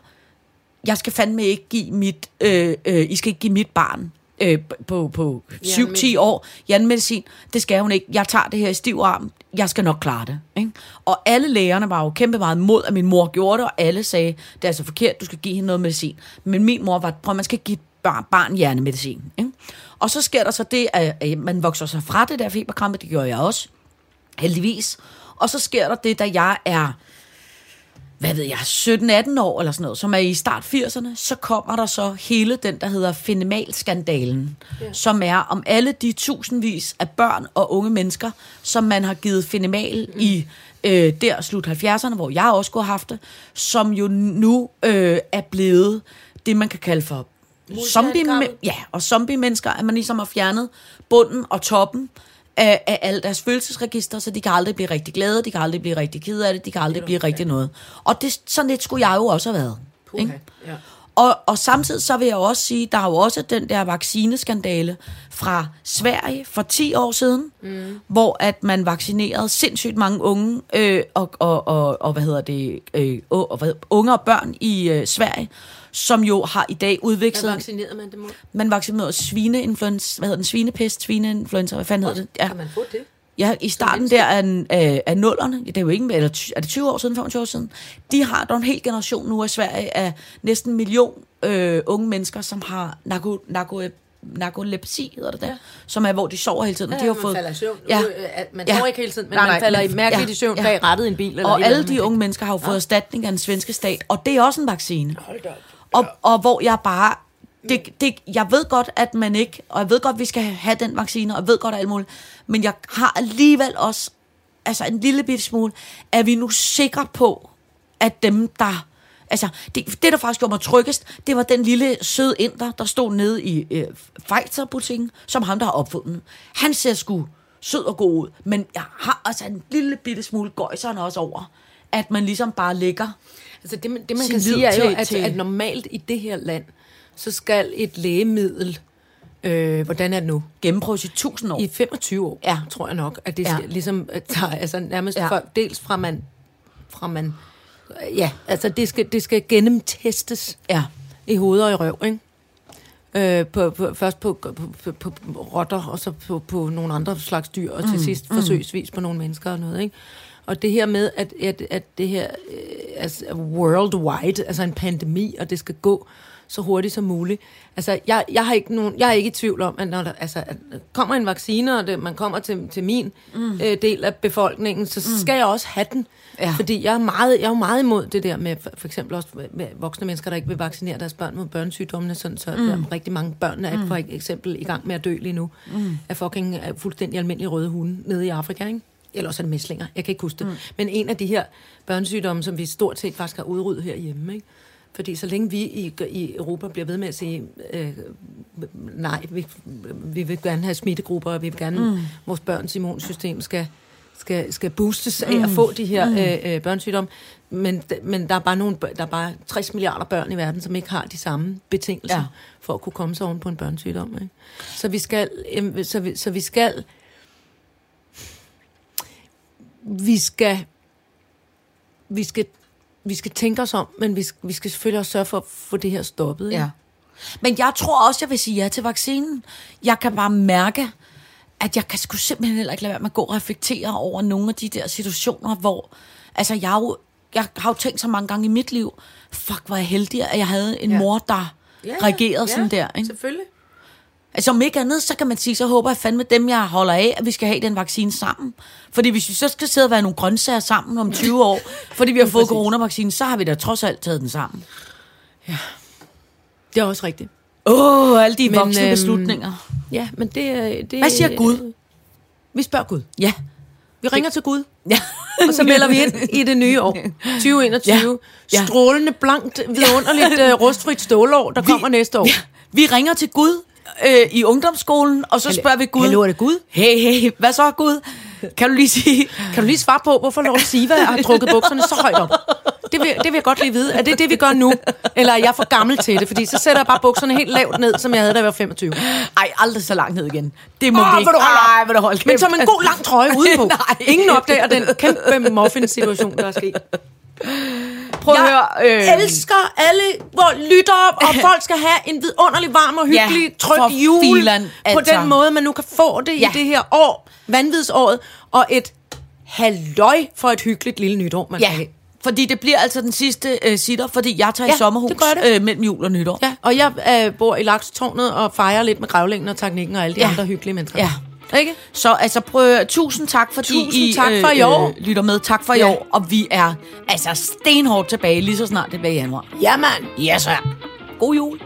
jeg skal fandme ikke give mit, øh, øh, I skal ikke give mit barn øh, på, på 7-10 år hjernemedicin. Det skal hun ikke. Jeg tager det her i stiv arm. Jeg skal nok klare det. Ikke? Og alle lægerne var jo kæmpe meget mod, at min mor gjorde det, og alle sagde, det er altså forkert, du skal give hende noget medicin. Men min mor var, prøv man skal give et barn, barn hjernemedicin. Ikke? Og så sker der så det, at, at man vokser sig fra det der feberkrampe, det gjorde jeg også, heldigvis. Og så sker der det, da jeg er hvad ved jeg, 17-18 år eller sådan noget, som er i start 80'erne, så kommer der så hele den, der hedder Fenemal-skandalen, ja. som er om alle de tusindvis af børn og unge mennesker, som man har givet Fenemal mm. i øh, der slut 70'erne, hvor jeg også kunne have haft det, som jo nu øh, er blevet det, man kan kalde for zombie, ja, og zombie-mennesker, at man ligesom har fjernet bunden og toppen af, af alle deres følelsesregister, så de kan aldrig blive rigtig glade, de kan aldrig blive rigtig kede af det, de kan aldrig blive rigtig noget. Og det, sådan lidt skulle jeg jo også have været. Ikke?
Ja.
Og, og samtidig så vil jeg jo også sige, der er jo også den der vaccineskandale fra Sverige for 10 år siden, mm. hvor at man vaccinerede sindssygt mange unge øh, og, og, og, og hvad hedder det, øh, og, og, hvad- unge og børn i øh, Sverige, som jo har i dag udviklet en-
vaccinerede man det mod?
man vaccinerede svineinfluenza, hvad hedder den, svinepest, svineinfluenza, hvad fanden hedder det? Ja,
Kan man få det?
ja i starten der af, af, af nullerne, det er jo ikke, eller ty- er det 20 år siden, 25 år siden, de har der er en hel generation nu i Sverige af næsten en million øh, unge mennesker, som har narko, narko, narkolepsi, hedder det der, ja. som er, hvor de sover hele tiden. og
Ja,
de har
man
fået,
falder i søvn.
Ja.
Øh, at man
ja.
sover ikke hele tiden, men
Nej,
man
nej,
falder
men-
i mærkeligt i søvn bag rattet i en bil eller et
Og
eller
alle
andet, man
de unge mennesker har jo fået ja. erstatning af en svenske stat, og det er også en vaccine. Hold da op. Og, og hvor jeg bare... Det, det, jeg ved godt, at man ikke... Og jeg ved godt, at vi skal have den vaccine, og jeg ved godt og alt muligt. Men jeg har alligevel også altså en lille bitte smule, er vi nu sikre på, at dem, der... Altså, det, det, der faktisk gjorde mig tryggest, det var den lille søde inder, der stod nede i øh, Pfizer-butikken, som ham, der har opfundet. den. Han ser sgu sød og god ud, men jeg har altså en lille bitte smule gøjserne også over, at man ligesom bare ligger.
Altså det, man- det man
Sin
kan
lid
sige er jo,
til-
at,
til-
at normalt i det her land, så skal et lægemiddel, øh, hvordan er det nu?
Gennemprøves i tusind år.
I 25 år,
Ja.
tror jeg nok, at det
Ja.
ja. ligesom øh, tager, altså nærmest
Ja.
ja. folk, dels fra man, fra man, ja, altså det skal, det skal gennemtestes
Ja.
i hoved og i røv, ikke? Øh, på, på, først på, på, på, på rotter, og så på, på nogle andre slags dyr, og til sidst forsøgsvis på nogle mennesker og noget, ikke? Og det her med, at, at, at det her øh, altså, worldwide, altså en pandemi, og det skal gå så hurtigt som muligt. Altså, jeg, jeg, har ikke nogen, jeg er ikke i tvivl om, at når der altså, at kommer en vaccine, og det, man kommer til, til min mm. øh, del af befolkningen, så mm. skal jeg også have den.
Ja.
Fordi fordi jeg er, meget, jeg er jo meget imod det der med for, for eksempel også med- med voksne mennesker, der ikke vil vaccinere deres børn mod børnesygdommene, sådan, så mm. der er rigtig mange børn er mm. for eksempel i gang med at dø lige nu mm. af fucking af fuldstændig almindelige røde hunde nede i Afrika, ikke? Eller også er det mæslinger, jeg kan ikke huske det. Mm. Men en af de her børnesygdomme, som vi stort set faktisk har udryddet herhjemme, ikke? Fordi så længe vi i, i Europa bliver ved med at sige, øh, nej, vi, vi vil gerne have smittegrupper, og vi vil gerne, mm. vores børns immunsystem skal, skal, skal boostes af mm. at få de her mm. øh, øh, børnesygdomme. Men, d- men der, er bare nogle, bør- der er bare 60 milliarder børn i verden, som ikke har de samme betingelser
Ja.
ja. for at kunne komme sig oven på en børnesygdom. Ikke? Så vi skal... Øh, så, vi, så vi skal vi skal, vi skal, vi skal tænke os om, men vi skal, vi skal selvfølgelig også sørge for at få det her stoppet. ikke?
Ja. Men jeg tror også, jeg vil sige ja til vaccinen. Jeg kan bare mærke, at jeg kan sgu simpelthen heller ikke lade være med at gå og reflektere over nogle af de der situationer, hvor... Altså, jeg er jo jeg har jo tænkt så mange gange i mit liv, fuck, hvor er jeg heldig, at jeg havde en
Ja.
ja. mor, der ja, reagerede ja, sådan der. Ikke?
Selvfølgelig.
Altså om ikke andet, så kan man sige, så håber jeg fandme dem, jeg holder af, at vi skal have den vaccine sammen. Fordi hvis vi så skal sidde og være nogle grøntsager sammen om 20 år, fordi vi har fået coronavaccinen, så har vi da trods alt taget den sammen.
Det er også rigtigt.
Åh, oh, alle de
Men,
men, voksne
øhm,
øhm, beslutninger.
Ja, men det, øh, det
Hvad siger Gud?
Vi spørger Gud.
Ja.
Vi ringer til Gud,
ja.
og så melder vi ind i det nye år. 2021.
Ja.
Ja. Strålende, blankt, vidunderligt, øh, rustfrit stålår, der vi, kommer næste år.
Vi ringer til Gud øh, i ungdomsskolen, og så spørger vi Gud.
Hallo, er det Gud?
Hey, hey, hvad så Gud? Kan du lige sige...
Kan du lige svare på, hvorfor Lord Siva har trukket bukserne så højt op? Det vil, det vil jeg godt lige vide. Er det det, vi gør nu? Eller er jeg for gammel til det? Fordi så sætter jeg bare bukserne helt lavt ned, som jeg havde, da jeg var 25.
Ej, aldrig så langt ned igen. Det må
Åh,
vi ikke.
hvor du holder op.
Ej, hvor du holde
Men som en god lang trøje udenpå.
Nej.
Ingen opdager den kæmpe muffin-situation, der er sket.
Prøv at høre... øhm.
Jeg elsker alle vores lyttere, og folk skal have en vidunderlig, varm og hyggelig, ja,
Ja,
tryg
for
jul.
filan,
på
altså.
den måde, man nu kan få det ja.
Ja.
i det her år, vanvidsåret, og et halløj for et hyggeligt lille nytår, man kan
Ja,
have.
fordi det bliver altså den sidste øh, sitter, fordi jeg tager ja,
Ja,
i sommerhus
det gør det.
Øh, mellem jul og nytår.
Ja, og jeg øh, bor i Laksetårnet og fejrer lidt med gravlingen og teknikken og alle de ja.
Ja.
andre hyggelige mennesker.
ja. Ikke? Så altså prøv, at- tusind tak, fordi
Tusind
I øh,
tak for i år.
lytter med. Tak for
Ja.
i år, og vi er altså stenhårdt tilbage lige så snart det bliver januar.
Jamen,
Yes, sir. God jul.